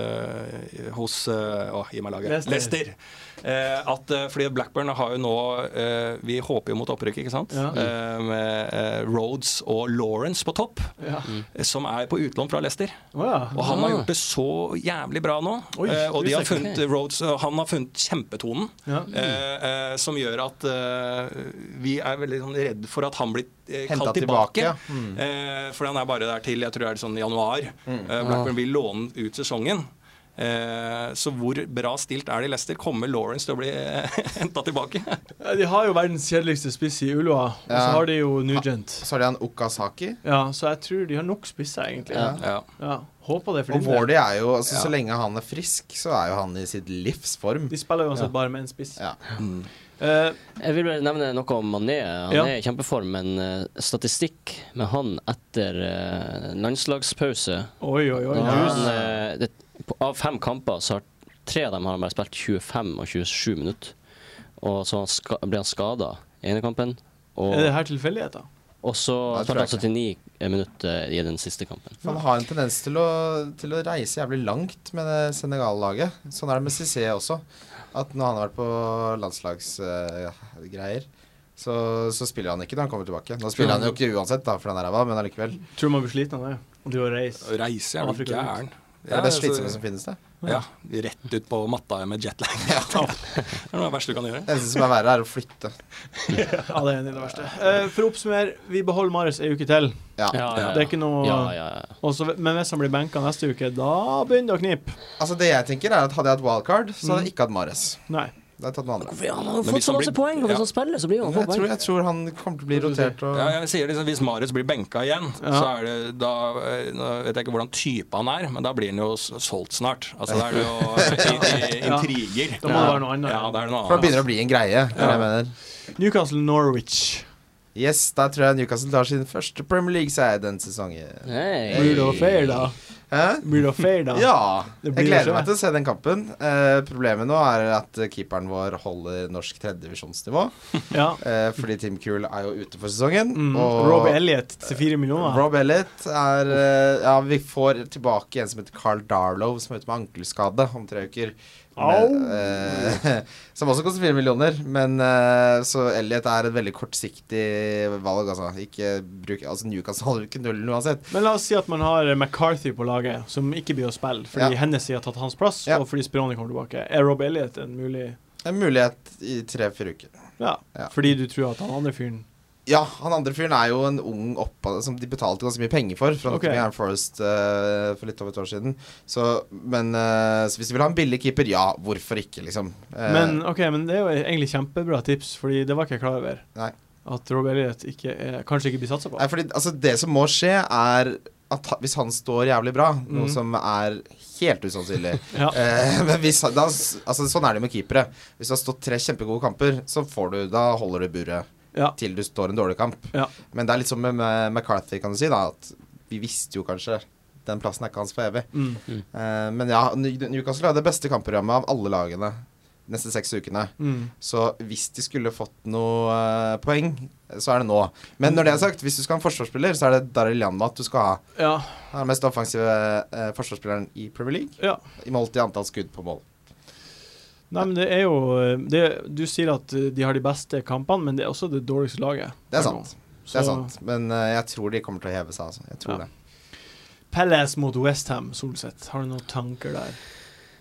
[SPEAKER 4] eh, hos eh, Å, gi meg laget.
[SPEAKER 1] Leicester.
[SPEAKER 4] Leicester. Eh, at, eh, fordi Blackburn har jo nå eh, Vi håper jo mot opprykk, ikke sant?
[SPEAKER 1] Ja.
[SPEAKER 4] Eh, med eh, Rhodes og Lawrence på topp,
[SPEAKER 1] Ja.
[SPEAKER 2] Mm.
[SPEAKER 4] eh, som er på utlån fra Leicester.
[SPEAKER 1] Å ja.
[SPEAKER 4] Og han har
[SPEAKER 2] Ah.
[SPEAKER 4] gjort det så jævlig bra nå.
[SPEAKER 1] Oi,
[SPEAKER 4] eh, og de
[SPEAKER 1] visste jeg
[SPEAKER 4] har
[SPEAKER 2] ikke.
[SPEAKER 4] funnet Rhodes, og han har funnet kjempetonen.
[SPEAKER 1] ja.
[SPEAKER 4] Eh, eh, som gjør at eh, vi er veldig sånn, redd for at han blir eh,
[SPEAKER 5] Henta
[SPEAKER 4] kalt
[SPEAKER 5] tilbake.
[SPEAKER 4] tilbake.
[SPEAKER 5] ja.
[SPEAKER 4] Eh, for han er bare der til jeg tror det er sånn i januar. Eh, Blackburn vil låne ut sesongen. Eh, så hvor bra stilt er det i Leicester? Kommer Lawrence til å bli henta tilbake?
[SPEAKER 1] Ja, De har jo verdens kjedeligste spiss i Ulva, og så
[SPEAKER 5] Ja.
[SPEAKER 1] har de jo Nugent.
[SPEAKER 5] Så er det han Okasaki.
[SPEAKER 1] Ja, så jeg tror de har nok spisser, egentlig.
[SPEAKER 2] Ja.
[SPEAKER 4] Ja.
[SPEAKER 1] Ja. Håper det, for
[SPEAKER 5] Og
[SPEAKER 1] din del.
[SPEAKER 5] Wardy er jo altså, Så
[SPEAKER 4] Ja.
[SPEAKER 5] lenge han er frisk, så er jo han i sitt livs form.
[SPEAKER 1] De spiller jo uansett bare med én spiss.
[SPEAKER 5] Ja.
[SPEAKER 4] Mm.
[SPEAKER 1] Eh,
[SPEAKER 2] Jeg vil bare nevne noe om Mané. Han
[SPEAKER 1] Ja.
[SPEAKER 2] er i kjempeform, men eh, statistikk med han etter eh, landslagspause
[SPEAKER 1] oi, oi, oi.
[SPEAKER 2] Når
[SPEAKER 5] Ja.
[SPEAKER 2] Huden, eh, det, på- Av fem kamper så har tre av dem har han bare spilt 25 og 27 minutter. Og så han ska, ble han skada i ene kampen. Og,
[SPEAKER 1] Er det her tilfeldigheter?
[SPEAKER 2] og så
[SPEAKER 5] Nei, tror
[SPEAKER 2] spilte han
[SPEAKER 5] jeg
[SPEAKER 2] 79 minutter i den siste kampen.
[SPEAKER 5] For han har en tendens til å, til å reise jævlig langt med det Senegal-laget. Sånn er det med Cissé også. At når han har vært på landslagsgreier, så, så spiller han ikke når han kommer tilbake. Nå spiller han jo ikke uansett, da, for den ræva, men allikevel.
[SPEAKER 1] Tror man blir sliten av det. Og det å reise.
[SPEAKER 4] Å Reise er jo
[SPEAKER 1] Afrika
[SPEAKER 4] gæren.
[SPEAKER 5] Det er det best slitsomme
[SPEAKER 4] altså,
[SPEAKER 5] som finnes, det.
[SPEAKER 4] ja, rett ut på matta med jetlag. det er noe av det verste du kan gjøre.
[SPEAKER 5] Det eneste som er verre, er å flytte.
[SPEAKER 1] Ja, det er en av det verste. Eh, for å oppsummere, vi beholder Marius ei uke til.
[SPEAKER 5] Ja.
[SPEAKER 2] ja,
[SPEAKER 1] Det er ikke noe
[SPEAKER 2] ja, ja, ja.
[SPEAKER 1] Og så- Men hvis han blir benka neste uke, da begynner det å knipe.
[SPEAKER 5] Altså, det jeg tenker, er at hadde jeg hatt wildcard, så
[SPEAKER 4] Mm.
[SPEAKER 5] hadde jeg ikke hatt Mares.
[SPEAKER 1] Nei.
[SPEAKER 5] Da hadde jeg tatt noe annet.
[SPEAKER 2] Hvorfor- Han har jo
[SPEAKER 4] Men
[SPEAKER 2] fått
[SPEAKER 4] hvis
[SPEAKER 2] så
[SPEAKER 4] han
[SPEAKER 2] masse
[SPEAKER 4] blir-
[SPEAKER 2] poeng, og
[SPEAKER 4] ja.
[SPEAKER 2] hvis han spiller, så blir han
[SPEAKER 5] Men
[SPEAKER 2] få
[SPEAKER 5] Jeg tror,
[SPEAKER 2] poeng.
[SPEAKER 5] jeg tror han kommer til å bli rotert og
[SPEAKER 4] Ja, jeg sier liksom, Hvis Marius blir benka igjen,
[SPEAKER 1] Ja.
[SPEAKER 4] så er det da eh, Nå vet jeg ikke hvordan type han er, men da blir han jo s- solgt snart. Altså Da er det jo eh, i- i-
[SPEAKER 1] Ja.
[SPEAKER 4] intriger.
[SPEAKER 1] Da må det være noe annet.
[SPEAKER 4] Ja, da er det noe
[SPEAKER 5] For det
[SPEAKER 4] annet.
[SPEAKER 5] begynner å bli en greie. er det Jeg mener.
[SPEAKER 1] Newcastle Norwich.
[SPEAKER 5] Yes, der tror jeg Newcastle tar sin første Premier League-seier den sesongen.
[SPEAKER 2] Hey.
[SPEAKER 1] Blir det fair, da?
[SPEAKER 5] Hæ?
[SPEAKER 1] Blir det fair, da?
[SPEAKER 5] Ja.
[SPEAKER 1] Det
[SPEAKER 5] Jeg
[SPEAKER 1] blir
[SPEAKER 5] gleder
[SPEAKER 1] det.
[SPEAKER 5] meg til å se den kampen. Eh, problemet nå er at eh, keeperen vår holder norsk tredjedivisjonsnivå.
[SPEAKER 1] Ja.
[SPEAKER 5] Eh, fordi Tim Kuhl er jo ute for sesongen.
[SPEAKER 1] Mm.
[SPEAKER 5] Og
[SPEAKER 1] Robbie Elliot til fire millioner.
[SPEAKER 5] Rob Elliot er eh, Ja, vi får tilbake en som heter Carl Darlow, som er ute med ankelskade om tre uker. Men, eh, som også koster fire millioner. Men eh, så Elliot er et veldig kortsiktig valg, altså. Ikke bruk, altså Newcastle holder ikke nullen uansett.
[SPEAKER 1] Men la oss si at man har McCarthy på laget, som ikke blir å spille fordi
[SPEAKER 5] Ja.
[SPEAKER 1] Hennessy har tatt hans plass,
[SPEAKER 5] Ja.
[SPEAKER 1] og fordi Spironi kommer tilbake. Er Rob Elliot en mulig
[SPEAKER 5] En mulighet i tre-fire uker.
[SPEAKER 1] ja,
[SPEAKER 5] Ja.
[SPEAKER 1] fordi du tror at han andre fyren
[SPEAKER 5] Ja, han andre fyren er jo en ung oppad som de betalte ganske mye penger for. Fra
[SPEAKER 1] Ok.
[SPEAKER 5] Nottingham Forest eh, for litt over et år siden. Så, men eh, så hvis du vil ha en billig keeper, ja, hvorfor ikke, liksom. Eh,
[SPEAKER 1] Men ok, men det er jo egentlig kjempebra tips, Fordi det var ikke jeg klar over.
[SPEAKER 5] Nei.
[SPEAKER 1] At Rob Elliot ikke er, kanskje ikke blir satsa på.
[SPEAKER 5] Nei, fordi, altså, det som må skje, er at ha- hvis han står jævlig bra, noe
[SPEAKER 1] Mm.
[SPEAKER 5] som er helt usannsynlig
[SPEAKER 1] Ja.
[SPEAKER 5] eh, Men hvis han- da, s- altså, Sånn er det jo med keepere. Hvis du har stått tre kjempegode kamper, så får du, da holder du buret
[SPEAKER 1] Ja.
[SPEAKER 5] til du står en dårlig kamp.
[SPEAKER 1] Ja.
[SPEAKER 5] Men det er litt som med, med McCarthy, kan du si, da, at vi visste jo kanskje den plassen er ikke hans for evig.
[SPEAKER 1] Mm.
[SPEAKER 5] Eh, men ja, New- Newcastle har det beste kampprogrammet av alle lagene neste seks ukene.
[SPEAKER 1] Mm.
[SPEAKER 5] Så hvis de skulle fått noe eh, poeng, så er det nå. Men når det er sagt, hvis du skal ha en forsvarsspiller, så er det Daryl Janmat du skal ha.
[SPEAKER 1] Ja.
[SPEAKER 5] Han er den mest offensive eh, forsvarsspilleren i Premier League.
[SPEAKER 1] ja.
[SPEAKER 5] I målt i antall skudd på mål.
[SPEAKER 1] Nei, men det er jo eh, det, Du sier at eh, de har de beste kampene, men det er også det dårligste laget.
[SPEAKER 5] Det er
[SPEAKER 1] per nå.
[SPEAKER 5] sant. Det
[SPEAKER 1] Så-
[SPEAKER 5] er sant. Men eh, jeg tror de kommer til å heve seg, altså. Jeg
[SPEAKER 1] Ja.
[SPEAKER 5] tror det.
[SPEAKER 1] Palace mot Westham, Solseth. Har du noen tanker der?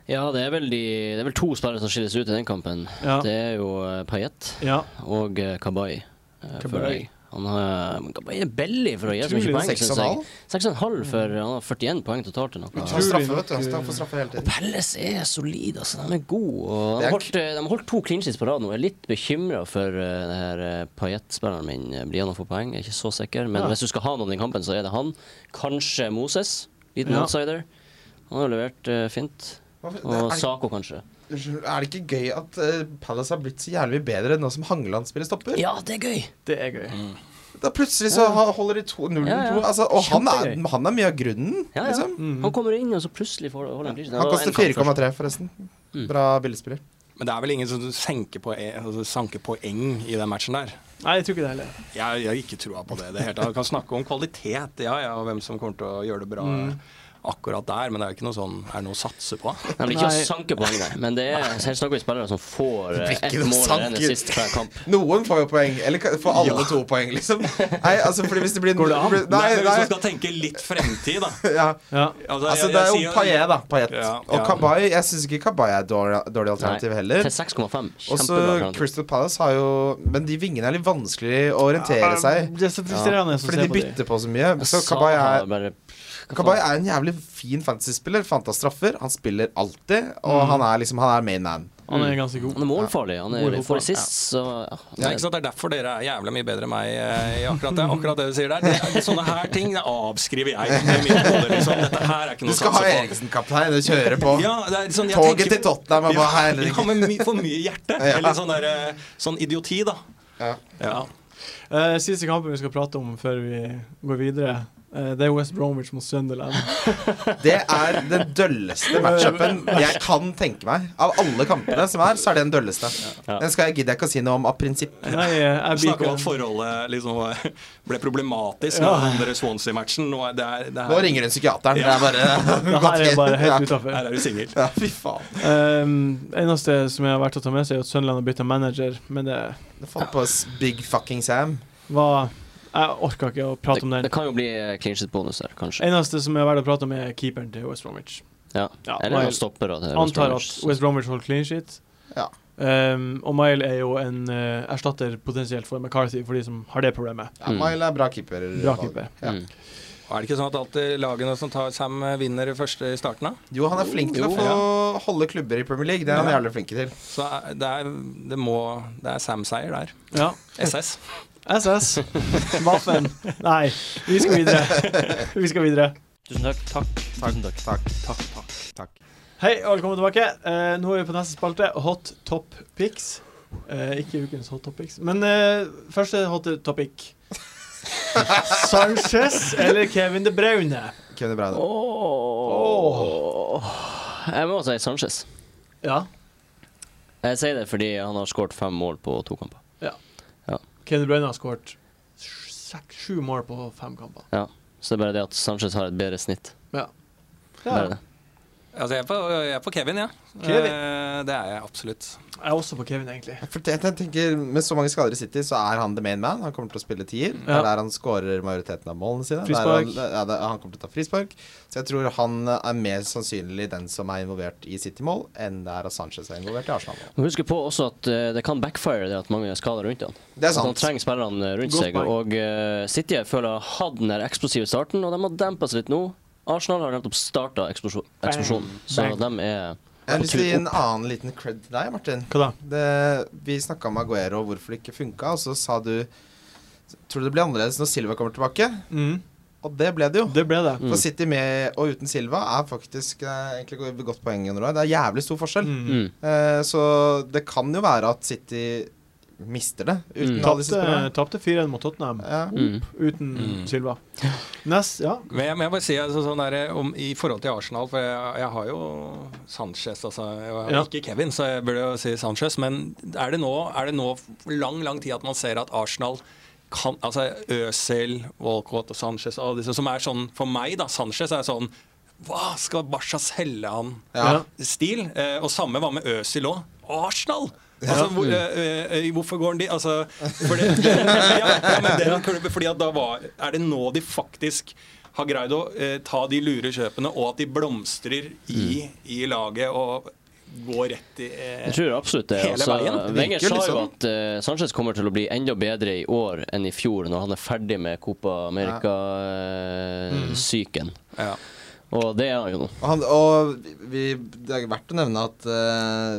[SPEAKER 2] Ja, det er, vel de, det er vel to spillere som skilles ut i den kampen.
[SPEAKER 1] Ja.
[SPEAKER 2] Det er jo uh, Payet
[SPEAKER 1] ja.
[SPEAKER 2] og uh, Kabay. eh,
[SPEAKER 1] Kabay.
[SPEAKER 2] føler jeg. Han har men Kabay er billig for å gi så
[SPEAKER 1] Utrolig,
[SPEAKER 2] mye poeng,
[SPEAKER 5] Seks og
[SPEAKER 2] syns
[SPEAKER 5] en
[SPEAKER 2] jeg.
[SPEAKER 5] halv.
[SPEAKER 2] 6,5 for Han har 41 poeng totalt. eller noe.
[SPEAKER 5] Han
[SPEAKER 1] Utrolig
[SPEAKER 5] får straffe,
[SPEAKER 1] nok,
[SPEAKER 5] vet du. Han får straffe hele tiden.
[SPEAKER 2] Pelles er solid, altså. De er gode. Og de,
[SPEAKER 5] Det er
[SPEAKER 2] har holdt, eh, de har holdt to clean sheets på rad nå. Jeg er litt bekymra for uh, det her uh, Payet-spilleren min. Blir han å få poeng? Jeg er ikke så sikker. Men
[SPEAKER 1] Ja.
[SPEAKER 2] hvis du skal ha noen i kampen, så er det han. Kanskje Moses. Liten
[SPEAKER 1] Ja.
[SPEAKER 2] outsider. Han har levert uh, fint.
[SPEAKER 5] Hvorfor- det-
[SPEAKER 2] Og
[SPEAKER 5] er det-
[SPEAKER 2] Sako, kanskje.
[SPEAKER 5] Unnskyld, Er det ikke gøy at eh, Palace har blitt så jævlig mye bedre nå som Hangeland spiller stopper?
[SPEAKER 2] Ja, det er gøy!
[SPEAKER 1] Det er gøy.
[SPEAKER 2] Mm.
[SPEAKER 5] Da plutselig så ha- holder de to- 0-2.
[SPEAKER 2] Ja, ja.
[SPEAKER 5] altså, og han er,
[SPEAKER 1] Kjempegøy.
[SPEAKER 5] han er mye av grunnen,
[SPEAKER 2] Ja, ja.
[SPEAKER 5] liksom.
[SPEAKER 2] Han kommer inn, og så plutselig får holder han clean sheet.
[SPEAKER 5] Han
[SPEAKER 2] Det var en
[SPEAKER 5] koster
[SPEAKER 2] kamp først.
[SPEAKER 5] 4,3, forresten. Bra billigspiller.
[SPEAKER 4] Men det er vel ingen som senker poeng, altså, sanker poeng i den matchen der.
[SPEAKER 1] Nei, jeg tror ikke det heller.
[SPEAKER 4] Jeg, jeg har ikke trua på det i det hele tatt. Vi Kan snakke om kvalitet, ja ja, og hvem som kommer til å gjøre det bra
[SPEAKER 1] Mm.
[SPEAKER 4] akkurat der, men det er jo ikke noe sånn Er det noe å satse på?
[SPEAKER 2] Nei, men ikke
[SPEAKER 1] Nei.
[SPEAKER 2] å sanke poeng, nei. Men det er, her snakker vi spillere som får uh,
[SPEAKER 5] Det blir
[SPEAKER 2] ett
[SPEAKER 5] ikke noe
[SPEAKER 2] mål eller en
[SPEAKER 5] sanker.
[SPEAKER 2] sist hver kamp.
[SPEAKER 5] Noen får jo poeng, eller ka- får alle to poeng, liksom. Nei, altså, fordi hvis det blir
[SPEAKER 1] Går det an?
[SPEAKER 5] blir-
[SPEAKER 4] Nei, men Hvis du
[SPEAKER 5] Nei,
[SPEAKER 4] skal tenke litt fremtid, da.
[SPEAKER 5] nei. Ja.
[SPEAKER 1] Ja.
[SPEAKER 4] Altså,
[SPEAKER 5] Altså,
[SPEAKER 4] jeg-
[SPEAKER 5] det er
[SPEAKER 4] jeg
[SPEAKER 5] jo
[SPEAKER 4] sier-
[SPEAKER 5] Paillet, da. Payet.
[SPEAKER 4] Ja,
[SPEAKER 5] Og
[SPEAKER 4] ja.
[SPEAKER 5] Kabay Jeg syns ikke Kabay er dårlig, dårlig alternativ heller.
[SPEAKER 2] Til 6,5.
[SPEAKER 5] Også
[SPEAKER 2] Kjempebra. alternativ.
[SPEAKER 5] Crystal Palace har jo Men de vingene er litt vanskelig å orientere seg i.
[SPEAKER 1] Det er så frustrerende å
[SPEAKER 5] Fordi
[SPEAKER 1] se
[SPEAKER 5] de
[SPEAKER 1] på dem.
[SPEAKER 5] bytter på så mye. Så
[SPEAKER 2] Sa
[SPEAKER 5] Kabay
[SPEAKER 2] han
[SPEAKER 5] er
[SPEAKER 2] bare,
[SPEAKER 5] Kabay er en jævlig fin fantasy-spiller. Fant av straffer. Han spiller alltid, og
[SPEAKER 1] Mm.
[SPEAKER 5] han er liksom Han er main man.
[SPEAKER 1] Han
[SPEAKER 2] Mm.
[SPEAKER 1] er ganske god.
[SPEAKER 2] Han er målfarlig. Han
[SPEAKER 1] Målfarlig,
[SPEAKER 2] er får assist, så ja, han
[SPEAKER 4] Ja,
[SPEAKER 2] er-
[SPEAKER 4] ikke sant? Det er derfor dere er jævla mye bedre enn meg eh, i akkurat det, akkurat det du sier der. Det, er- sånne her ting det avskriver jeg. i mitt hode, Liksom. Dette her er ikke
[SPEAKER 5] Du
[SPEAKER 4] noe
[SPEAKER 5] skal ha
[SPEAKER 4] å satse på.
[SPEAKER 5] Eriksen-kaptein og kjøre på.
[SPEAKER 4] Ja, det er sånn, jeg
[SPEAKER 5] Toget til
[SPEAKER 4] tenker-
[SPEAKER 5] Tottenham er bare
[SPEAKER 4] Ja,
[SPEAKER 5] herlig.
[SPEAKER 4] Ja, men my, for mye hjerte.
[SPEAKER 5] Ja.
[SPEAKER 4] Eller sånn, der, eh, sånn idioti, da.
[SPEAKER 5] Ja.
[SPEAKER 4] Ja.
[SPEAKER 1] Eh, siste kampen vi skal prate om før vi går videre, eh, det er West Bromwich mot Sunderland.
[SPEAKER 5] Det er den dølleste matchupen jeg kan tenke meg. Av alle kampene som er, så er det den dølleste. Den skal jeg gidder jeg ikke å si noe om av prinsipp.
[SPEAKER 1] Nei, jeg, jeg blir
[SPEAKER 4] Snakke om
[SPEAKER 1] ikke
[SPEAKER 4] at forholdet liksom var- ble problematisk
[SPEAKER 1] Ja.
[SPEAKER 4] med den der Swansea-matchen. Nå er det, er, det
[SPEAKER 5] Nå
[SPEAKER 4] her,
[SPEAKER 5] ringer hun psykiateren. Det er bare
[SPEAKER 1] Det her er bare helt
[SPEAKER 4] her
[SPEAKER 1] utafor.
[SPEAKER 4] er du singel.
[SPEAKER 5] Ja, fy faen.
[SPEAKER 1] eneste som er verdt å ta med seg, er at Sunderland har bytta manager, men det
[SPEAKER 5] Du fant på s- Big Fucking Sam.
[SPEAKER 1] var Jeg orka ikke å prate om
[SPEAKER 2] det,
[SPEAKER 1] den.
[SPEAKER 2] det kan jo bli eh, clean sheet-bonus der, kanskje.
[SPEAKER 1] Eneste som er verdt å prate om, er keeperen til West Bromwich.
[SPEAKER 2] Ja.
[SPEAKER 1] Ja,
[SPEAKER 2] Eller
[SPEAKER 1] Mile
[SPEAKER 2] noen stoppere. til West
[SPEAKER 1] antar
[SPEAKER 2] Bromwich.
[SPEAKER 1] at West Bromwich holder clean sheet.
[SPEAKER 5] Ja.
[SPEAKER 1] Ehm, og Mile er jo en eh, erstatter potensielt for McCarthy, for de som har det problemet.
[SPEAKER 5] Ja, Mile er bra keeper.
[SPEAKER 1] Mm. Bra keeper.
[SPEAKER 5] Ja.
[SPEAKER 2] Mm.
[SPEAKER 4] Og Er det ikke sånn at alltid lagene som tar Sam, vinner først i starten, da?
[SPEAKER 5] Jo, han er flink til å
[SPEAKER 4] Jo,
[SPEAKER 5] få holde klubber i Premier League. Det er han jævlig flink til.
[SPEAKER 4] Så er- det er, det må, det er Sam-seier der.
[SPEAKER 1] Ja.
[SPEAKER 4] SS.
[SPEAKER 1] SS. Vaffen. Nei, vi skal videre. Vi skal videre.
[SPEAKER 2] Tusen takk. Takk. Tusen takk.
[SPEAKER 5] Takk, takk, takk. takk.
[SPEAKER 1] Hei og velkommen tilbake. Eh, nå er vi på neste spalte, Hot Top Pics. Eh, ikke ukens Hot Topics, men eh, første hot topic. Sanchez eller Kevin De Bruyne?
[SPEAKER 5] Kevin De Bruyne.
[SPEAKER 2] Jeg må si Sanchez.
[SPEAKER 1] Ja.
[SPEAKER 2] Jeg sier det fordi han har skåret fem mål på to kamper.
[SPEAKER 1] Kevin De Bruyne har skåret sj- seks- sju mål på fem kamper.
[SPEAKER 2] Så det er bare det at Sanchez har et bedre snitt.
[SPEAKER 1] Ja.
[SPEAKER 2] Bare det.
[SPEAKER 4] Altså, jeg er på, jeg er på Kevin, ja.
[SPEAKER 1] Kevin.
[SPEAKER 4] Eh, Det er jeg absolutt.
[SPEAKER 1] Jeg er også på Kevin, egentlig.
[SPEAKER 5] For det, jeg tenker, Med så mange skader i City, så er han the main man. Han kommer til å spille tier. Det
[SPEAKER 1] Ja.
[SPEAKER 5] er der han skårer majoriteten av målene sine. Det er
[SPEAKER 1] Frispark.
[SPEAKER 5] Han, ja, det, han kommer til å ta frispark. Så jeg tror han er mer sannsynlig den som er involvert i City-mål, enn det er at Sanchez er involvert i Arsenal-mål.
[SPEAKER 2] Men Husk på også at eh, det kan backfire det at mange skader rundt han.
[SPEAKER 5] Det er
[SPEAKER 2] At han
[SPEAKER 5] sant.
[SPEAKER 2] trenger spillerne rundt
[SPEAKER 1] Godt
[SPEAKER 2] seg.
[SPEAKER 1] poeng.
[SPEAKER 2] Og eh, City jeg føler har hatt den der eksplosive starten, og de har dempa seg litt nå. Arsenal har nettopp starta eksplosjonen, så de er
[SPEAKER 5] Jeg har
[SPEAKER 2] på
[SPEAKER 5] lyst til å
[SPEAKER 2] tur
[SPEAKER 5] gi en
[SPEAKER 2] opp.
[SPEAKER 5] annen liten cred til deg, Martin.
[SPEAKER 1] Hva da?
[SPEAKER 5] Det, vi snakka om Aguero og hvorfor det ikke funka, og så sa du Tror du det blir annerledes når Silva kommer tilbake?
[SPEAKER 1] Mm,
[SPEAKER 5] Og det ble det jo.
[SPEAKER 1] det ble det.
[SPEAKER 2] Mm.
[SPEAKER 5] For City med og uten Silva er faktisk eh, egentlig et godt poeng. Under det er jævlig stor forskjell.
[SPEAKER 1] Mm.
[SPEAKER 2] Mm.
[SPEAKER 5] Eh, så det kan jo være at City mister det uten
[SPEAKER 2] Mm.
[SPEAKER 5] alle disse
[SPEAKER 1] Tapte
[SPEAKER 5] spillerne.
[SPEAKER 1] tapte 4-1 mot Tottenham
[SPEAKER 5] Ja.
[SPEAKER 1] Eh,
[SPEAKER 2] Mm.
[SPEAKER 1] uten
[SPEAKER 4] Mm.
[SPEAKER 1] Silva. Nest, ja.
[SPEAKER 4] Men jeg må jeg bare si altså, sånn der, eh, om, I forhold til Arsenal, for jeg, jeg har jo Sanchez altså, Jeg har
[SPEAKER 1] Ja.
[SPEAKER 4] ikke Kevin, så jeg burde jo si Sanchez. Men er det nå, er det nå lang, lang tid at man ser at Arsenal kan, altså Øzil, Walcott og Sanchez og alle disse som er sånn For meg, da. Sanchez er sånn Hva skal Barca selge han?
[SPEAKER 5] Ja.
[SPEAKER 1] Ja.
[SPEAKER 4] stil. Eh, og samme var med Øzil òg. Arsenal! Altså, hvor, eh, eh, hvorfor går han dit? Altså, for det, ja, ja, men den klubben, fordi at da var, er det nå de faktisk har greid å eh, ta de lure kjøpene, og at de blomstrer i, i laget og går rett i eh,
[SPEAKER 2] Jeg tror absolutt det.
[SPEAKER 4] Hele
[SPEAKER 2] Altså,
[SPEAKER 4] veien.
[SPEAKER 5] Det
[SPEAKER 2] Wenger
[SPEAKER 5] virker
[SPEAKER 2] sa jo
[SPEAKER 5] liksom.
[SPEAKER 2] at eh, Sanchez kommer til å bli enda bedre i år enn i fjor, når han er ferdig med Copa
[SPEAKER 5] Mm.
[SPEAKER 2] America-psyken.
[SPEAKER 4] ja.
[SPEAKER 2] Og det er han jo nå.
[SPEAKER 5] Og, han, og vi, det er verdt å nevne at eh,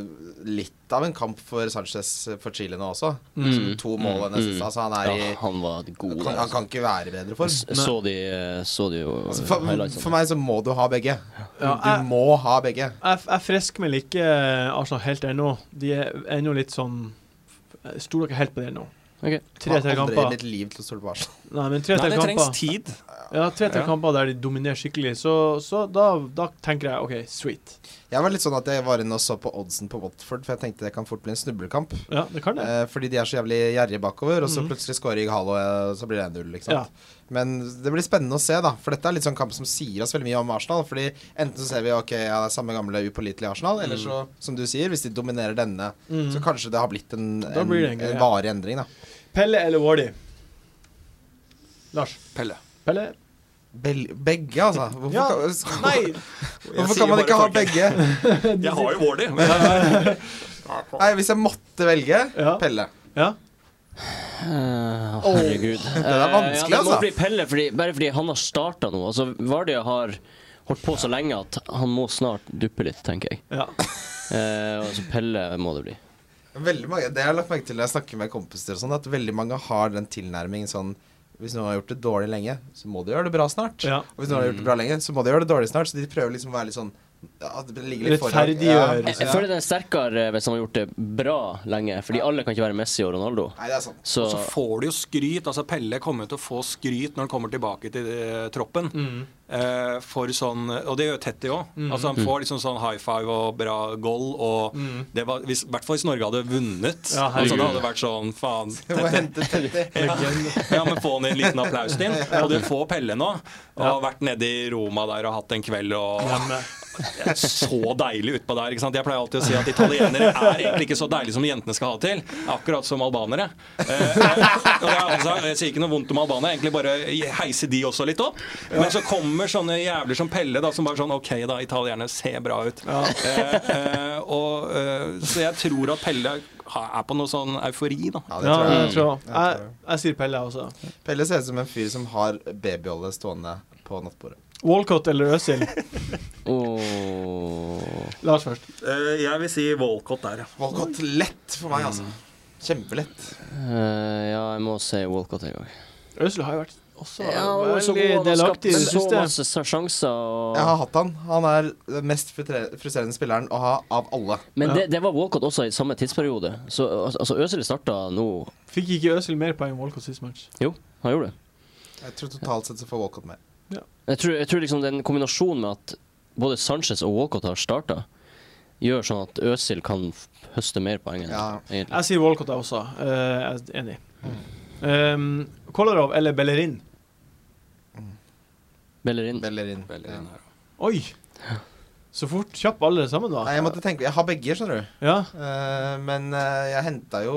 [SPEAKER 5] litt av en kamp for Sanchez eh, for Chile nå også. Som To mål denne siste. Altså, han er
[SPEAKER 2] Mm. Ja,
[SPEAKER 5] i
[SPEAKER 2] han var god.
[SPEAKER 5] kan,
[SPEAKER 2] der,
[SPEAKER 5] Han
[SPEAKER 2] altså.
[SPEAKER 5] kan ikke være i bedre form.
[SPEAKER 2] Jeg Så de, eh, så de jo eh,
[SPEAKER 5] Altså, for,
[SPEAKER 2] highlightsene.
[SPEAKER 5] for meg så må du ha begge.
[SPEAKER 1] Ja, jeg-
[SPEAKER 5] Du må ha begge.
[SPEAKER 1] Jeg, jeg frisker vel ikke Arsenal helt ennå. De er ennå litt sånn jeg Stoler ikke helt på det ennå.
[SPEAKER 2] Ok.
[SPEAKER 5] Jeg
[SPEAKER 1] Tre-tre
[SPEAKER 5] har aldri i
[SPEAKER 1] kamper.
[SPEAKER 5] mitt liv til å stole på Arsenal.
[SPEAKER 1] Nei, men
[SPEAKER 4] Nei,
[SPEAKER 1] tre-tre
[SPEAKER 4] det trengs
[SPEAKER 1] kamper,
[SPEAKER 4] tid.
[SPEAKER 1] ja, tre, tre
[SPEAKER 4] Ja.
[SPEAKER 1] kamper der de dominerer skikkelig, så, så da, da tenker jeg OK, sweet.
[SPEAKER 5] Jeg var litt sånn at jeg var inne og så på oddsen på Watford, for jeg tenkte det kan fort bli en snublekamp.
[SPEAKER 1] Ja, det kan det.
[SPEAKER 5] Eh, fordi de er så jævlig gjerrige bakover, og så
[SPEAKER 1] Mhm.
[SPEAKER 5] plutselig scorer Ighalo, og eh, så blir det 1-0. ikke
[SPEAKER 1] Ja.
[SPEAKER 5] sant? Men det blir spennende å se, da. For dette er litt sånn kamp som sier oss veldig mye om Arsenal. Fordi enten så ser vi ok, ja, det er samme gamle upålitelige Arsenal, eller så, som du sier, hvis de dominerer denne,
[SPEAKER 1] Mhm.
[SPEAKER 5] så kanskje det har blitt en,
[SPEAKER 1] Da
[SPEAKER 5] en,
[SPEAKER 1] blir det en
[SPEAKER 5] en,
[SPEAKER 1] greie.
[SPEAKER 5] varig endring, da.
[SPEAKER 1] Pelle eller Wardy? Lars.
[SPEAKER 4] Pelle.
[SPEAKER 1] Pelle?
[SPEAKER 5] Bel begge, altså. Hvorfor,
[SPEAKER 1] Ja.
[SPEAKER 5] kan,
[SPEAKER 1] Nei!
[SPEAKER 4] Jeg
[SPEAKER 5] hvorfor
[SPEAKER 4] sier
[SPEAKER 5] kan man
[SPEAKER 4] bare
[SPEAKER 5] ikke ha
[SPEAKER 4] takk.
[SPEAKER 5] begge?
[SPEAKER 4] Jeg har jo Wardy. men-
[SPEAKER 5] Nei, hvis jeg måtte velge
[SPEAKER 1] Ja.
[SPEAKER 5] Pelle.
[SPEAKER 1] Ja.
[SPEAKER 2] Eh, herregud.
[SPEAKER 5] det er vanskelig,
[SPEAKER 2] Eh, ja, det må
[SPEAKER 5] altså.
[SPEAKER 2] bli Pelle, fordi, bare fordi han har starta nå. Altså, Vardia har holdt på så lenge at han må snart duppe litt, tenker jeg.
[SPEAKER 1] ja.
[SPEAKER 2] Eh, og så Pelle må det bli.
[SPEAKER 5] Veldig mange, Det jeg har lagt merke til når jeg snakker med kompiser, og sånn, at veldig mange har den tilnærmingen sånn Hvis noen har gjort det dårlig lenge, så må de gjøre det bra snart.
[SPEAKER 1] Ja.
[SPEAKER 5] Og hvis noen har gjort det bra lenge, så må de gjøre det dårlig snart. Så de prøver liksom å være litt sånn ja, det ligger litt foran.
[SPEAKER 1] Rettferdiggjør.
[SPEAKER 2] Jeg, jeg føler det er sterkere eh, hvis han har gjort det bra lenge, fordi alle kan ikke være Messi og Ronaldo.
[SPEAKER 5] Nei, det er sant.
[SPEAKER 2] Så,
[SPEAKER 4] Og så får du jo skryt. altså Pelle kommer jo til å få skryt når han kommer tilbake til eh, troppen.
[SPEAKER 1] Mm.
[SPEAKER 4] Eh, for sånn, Og det gjør Tetty òg. Altså, han
[SPEAKER 1] Mm.
[SPEAKER 4] får liksom sånn high five og bra goal. og det var, hvis, hvert fall hvis Norge hadde vunnet.
[SPEAKER 1] Ja, herregud.
[SPEAKER 4] altså, da hadde det vært sånn Faen.
[SPEAKER 5] Du må hente Teddy.
[SPEAKER 4] Ja, ja, men få han en liten applaus din. Og det får Pelle nå. Og har vært nede i Roma der og hatt en kveld og
[SPEAKER 1] Hjemme.
[SPEAKER 4] det er så deilig utpå der. ikke sant? Jeg pleier alltid å si at italienere er egentlig ikke så deilige som jentene skal ha det til. Akkurat som albanere. Eh, og jeg, altså, jeg sier ikke noe vondt om albanere, egentlig bare heise de også litt opp. Men så kommer sånne jævler som Pelle, da, som bare sånn OK, da, italienerne ser bra ut. Eh, eh, og, eh, så jeg tror at Pelle er på noe sånn eufori, da.
[SPEAKER 5] Ja, det
[SPEAKER 1] Ja,
[SPEAKER 5] tror jeg.
[SPEAKER 1] det tror jeg. Jeg, jeg sier Pelle, altså. jeg også.
[SPEAKER 5] Pelle ser ut som en fyr som har babyolje stående på nattbordet.
[SPEAKER 1] Walcott eller Øzil?
[SPEAKER 2] Åh.
[SPEAKER 1] Lars først.
[SPEAKER 4] Eh, jeg vil si Walcott der, ja.
[SPEAKER 5] Walcott lett for meg, altså. Kjempelett.
[SPEAKER 2] Eh, ja, jeg må si Walcott en gang.
[SPEAKER 1] Øzil har jo vært også
[SPEAKER 2] han var så god,
[SPEAKER 1] veldig
[SPEAKER 2] han har skapt
[SPEAKER 1] delaktig i det
[SPEAKER 2] så
[SPEAKER 1] siste.
[SPEAKER 2] masse sjanser. Og...
[SPEAKER 5] Jeg har hatt han. Han er den mest frutre- frustrerende spilleren å ha av alle.
[SPEAKER 2] Men det, det var Walcott også i samme tidsperiode. Så al- altså, Øzil starta nå
[SPEAKER 1] Fikk ikke Øzil mer poeng enn Walcott sist match?
[SPEAKER 2] Jo, han gjorde det.
[SPEAKER 5] Jeg tror totalt sett så får Walcott med.
[SPEAKER 2] Jeg tror, jeg tror liksom den kombinasjonen med at både Sanchez og Walcott har starta, gjør sånn at Øzil kan f- høste mer poeng enn
[SPEAKER 5] Ja.
[SPEAKER 2] egentlig.
[SPEAKER 1] Jeg sier Walcott, jeg også. Eh, jeg er enig. Um, Kolarov eller Bellerin?
[SPEAKER 2] Bellerin.
[SPEAKER 5] Bellerin.
[SPEAKER 4] Veldig den her.
[SPEAKER 1] Oi! Så fort kjapp alle sammen, da.
[SPEAKER 5] Nei, jeg måtte tenke Jeg har begge, skjønner du.
[SPEAKER 1] Ja.
[SPEAKER 5] Eh, men eh, jeg henta jo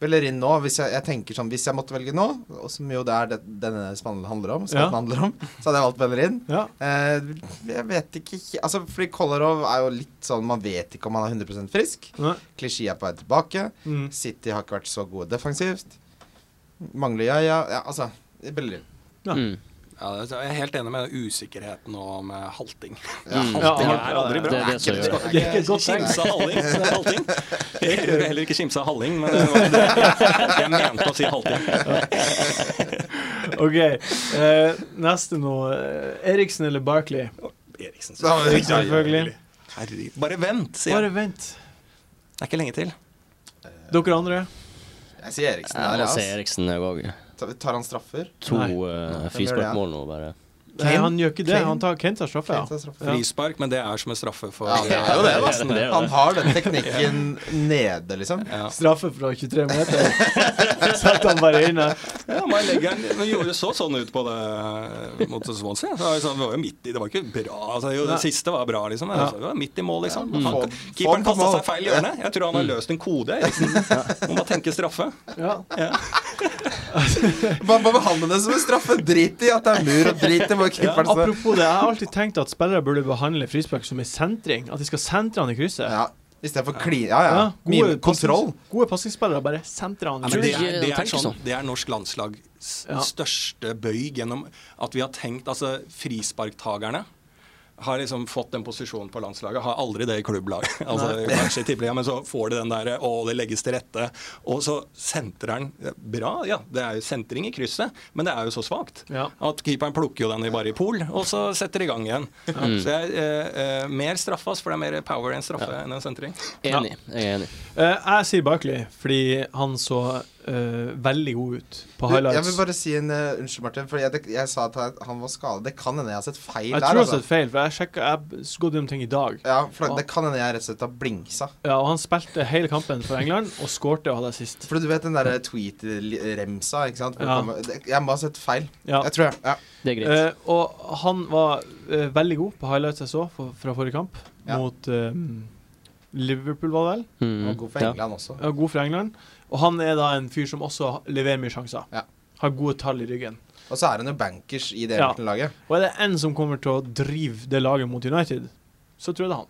[SPEAKER 5] Bellerin nå. Hvis jeg, jeg tenker sånn Hvis jeg måtte velge nå, og som jo det er det denne spannen handler om,
[SPEAKER 1] Ja.
[SPEAKER 5] spalten handler om, så hadde jeg valgt Bellerin.
[SPEAKER 1] ja.
[SPEAKER 5] Eh, jeg vet ikke he- Altså, fordi Kolarov er jo litt sånn Man vet ikke om han er 100 frisk.
[SPEAKER 1] Nei.
[SPEAKER 5] Klisjé er på vei tilbake.
[SPEAKER 1] Mm.
[SPEAKER 5] City har ikke vært så gode defensivt. Mangler ja, ja, ja Altså Bellerin.
[SPEAKER 1] Ja.
[SPEAKER 2] Mm.
[SPEAKER 4] Ja, det- jeg er helt enig med usikkerheten og med halting.
[SPEAKER 5] Ja,
[SPEAKER 2] Mm.
[SPEAKER 1] Ja,
[SPEAKER 4] Halting
[SPEAKER 1] han-
[SPEAKER 4] er aldri
[SPEAKER 2] Det
[SPEAKER 4] bra.
[SPEAKER 2] er det som gjør det.
[SPEAKER 1] Det er ikke et godt tegn.
[SPEAKER 4] Kimsa halling, så det er halting. Jeg ville heller ikke kimsa halling, men det var ikke det. jeg mente å si halting.
[SPEAKER 1] OK. Eh, neste nå. Eh, Eriksen eller Barkley?
[SPEAKER 4] Eriksen.
[SPEAKER 5] Da var det riktig.
[SPEAKER 1] Selvfølgelig.
[SPEAKER 4] Herregud. Bare vent, sier
[SPEAKER 1] Bare
[SPEAKER 4] jeg.
[SPEAKER 1] vent.
[SPEAKER 4] Det er ikke lenge til.
[SPEAKER 1] Dere andre?
[SPEAKER 5] Jeg sier Eriksen
[SPEAKER 2] Jeg
[SPEAKER 5] der,
[SPEAKER 2] må se
[SPEAKER 5] ja.
[SPEAKER 2] Eriksen jeg òg.
[SPEAKER 5] ass. Ta- Tar han straffer?
[SPEAKER 2] To
[SPEAKER 1] Nei.
[SPEAKER 2] eh,
[SPEAKER 5] Hvem gjør det?
[SPEAKER 2] frisparkmål nå, bare.
[SPEAKER 1] Nei,
[SPEAKER 5] Kane?
[SPEAKER 1] han gjør ikke det.
[SPEAKER 5] Kane?
[SPEAKER 1] Han tar Kane tar straffe,
[SPEAKER 5] Kane
[SPEAKER 1] ja.
[SPEAKER 5] tar straffer.
[SPEAKER 1] ja.
[SPEAKER 4] Frispark, men det er som en straffe for
[SPEAKER 5] Ja, det er jo det, da.
[SPEAKER 2] Det er det, det er
[SPEAKER 5] Han
[SPEAKER 2] det.
[SPEAKER 5] har den teknikken nede, liksom.
[SPEAKER 4] Ja.
[SPEAKER 1] Straffe fra 23 meter. Satt han bare inne.
[SPEAKER 4] Ja, man legger den Men gjorde så sånn ut på det eh, mot Swansea. Så det var jo- det var jo midt i Det var ikke bra. Altså, jo,
[SPEAKER 1] Nei.
[SPEAKER 4] det siste var bra, liksom. men
[SPEAKER 1] Ja.
[SPEAKER 4] altså, Det var midt i mål, liksom.
[SPEAKER 5] Ja, men
[SPEAKER 4] Han-
[SPEAKER 5] få- få den
[SPEAKER 4] Keeperen
[SPEAKER 5] på
[SPEAKER 4] kasta
[SPEAKER 5] mål. Mm.
[SPEAKER 4] seg feil hjørne. Jeg tror han har løst en kode, Eriksen. Må bare tenke straffe.
[SPEAKER 1] Ja.
[SPEAKER 5] Bare bare behandle det som en straffe. Drit i at det er mur, og drit i hvor keeperen står.
[SPEAKER 1] Apropos det, jeg har alltid tenkt at spillere burde behandle frispark som en sentring. At de skal sentre han i krysset.
[SPEAKER 5] Ja, Istedenfor kline Ja, ja.
[SPEAKER 1] Ja,
[SPEAKER 5] Mime
[SPEAKER 1] pasnings-
[SPEAKER 5] kontroll.
[SPEAKER 1] Gode passingsspillere bare sentre han. i
[SPEAKER 4] Nei,
[SPEAKER 2] Tror
[SPEAKER 4] men
[SPEAKER 1] krysset.
[SPEAKER 4] det,
[SPEAKER 2] du ikke
[SPEAKER 4] er, det,
[SPEAKER 2] de
[SPEAKER 4] er
[SPEAKER 2] tenker
[SPEAKER 4] sånn,
[SPEAKER 2] sånn?
[SPEAKER 4] det er norsk landslags
[SPEAKER 1] Ja.
[SPEAKER 4] største bøy gjennom at vi har tenkt Altså, frisparktagerne har liksom fått den posisjonen på landslaget. Har aldri det i klubblag. altså, kanskje i tippeligaen, men så får de den der Å, det legges til rette. Og så sentrer han Bra, ja. Det er jo sentring i krysset, men det er jo så svakt.
[SPEAKER 1] Ja.
[SPEAKER 4] At keeperen plukker jo den i bare i pol, og så setter i gang igjen. Så jeg eh, eh, mer straffas, for det er mer power enn straffe enn en sentring.
[SPEAKER 2] Enig. Jeg er enig.
[SPEAKER 1] Eh, jeg sier Barkley fordi han så eh, veldig god ut på
[SPEAKER 5] Du, Jeg
[SPEAKER 1] highlights.
[SPEAKER 5] vil bare si en eh, Unnskyld, Martin. For jeg, det- jeg sa at han- han var skadet. Det kan hende jeg har sett feil
[SPEAKER 1] jeg
[SPEAKER 5] der.
[SPEAKER 1] tror jeg har
[SPEAKER 5] Altså.
[SPEAKER 1] sett feil, for jeg sjekket, jeg s- gått gjennom ting i dag.
[SPEAKER 5] Ja, for det kan hende jeg rett og slett har blingsa.
[SPEAKER 1] Ja, og han spilte hele kampen for England og skårte og hadde assist.
[SPEAKER 5] For du vet den der tweet-remsa, ikke sant? Hvor
[SPEAKER 1] Ja.
[SPEAKER 5] det kommer- det- Jeg må ha sett feil.
[SPEAKER 1] Ja.
[SPEAKER 5] Jeg tror jeg. Ja.
[SPEAKER 2] Det er greit.
[SPEAKER 1] Eh, og han var eh, veldig god på highlights jeg så for, fra forrige kamp,
[SPEAKER 5] Ja.
[SPEAKER 1] mot eh, Liverpool, var det vel?
[SPEAKER 2] Mm.
[SPEAKER 5] Og god for
[SPEAKER 2] Ja.
[SPEAKER 5] England også.
[SPEAKER 1] Ja, god for England. Og han er da en fyr som også leverer mye sjanser.
[SPEAKER 5] Ja.
[SPEAKER 1] Har gode tall i ryggen.
[SPEAKER 5] Og så er han jo bankers i det
[SPEAKER 1] Ja.
[SPEAKER 5] Everton-laget.
[SPEAKER 1] Og er det én som kommer til å drive det laget mot United, så tror jeg det er han.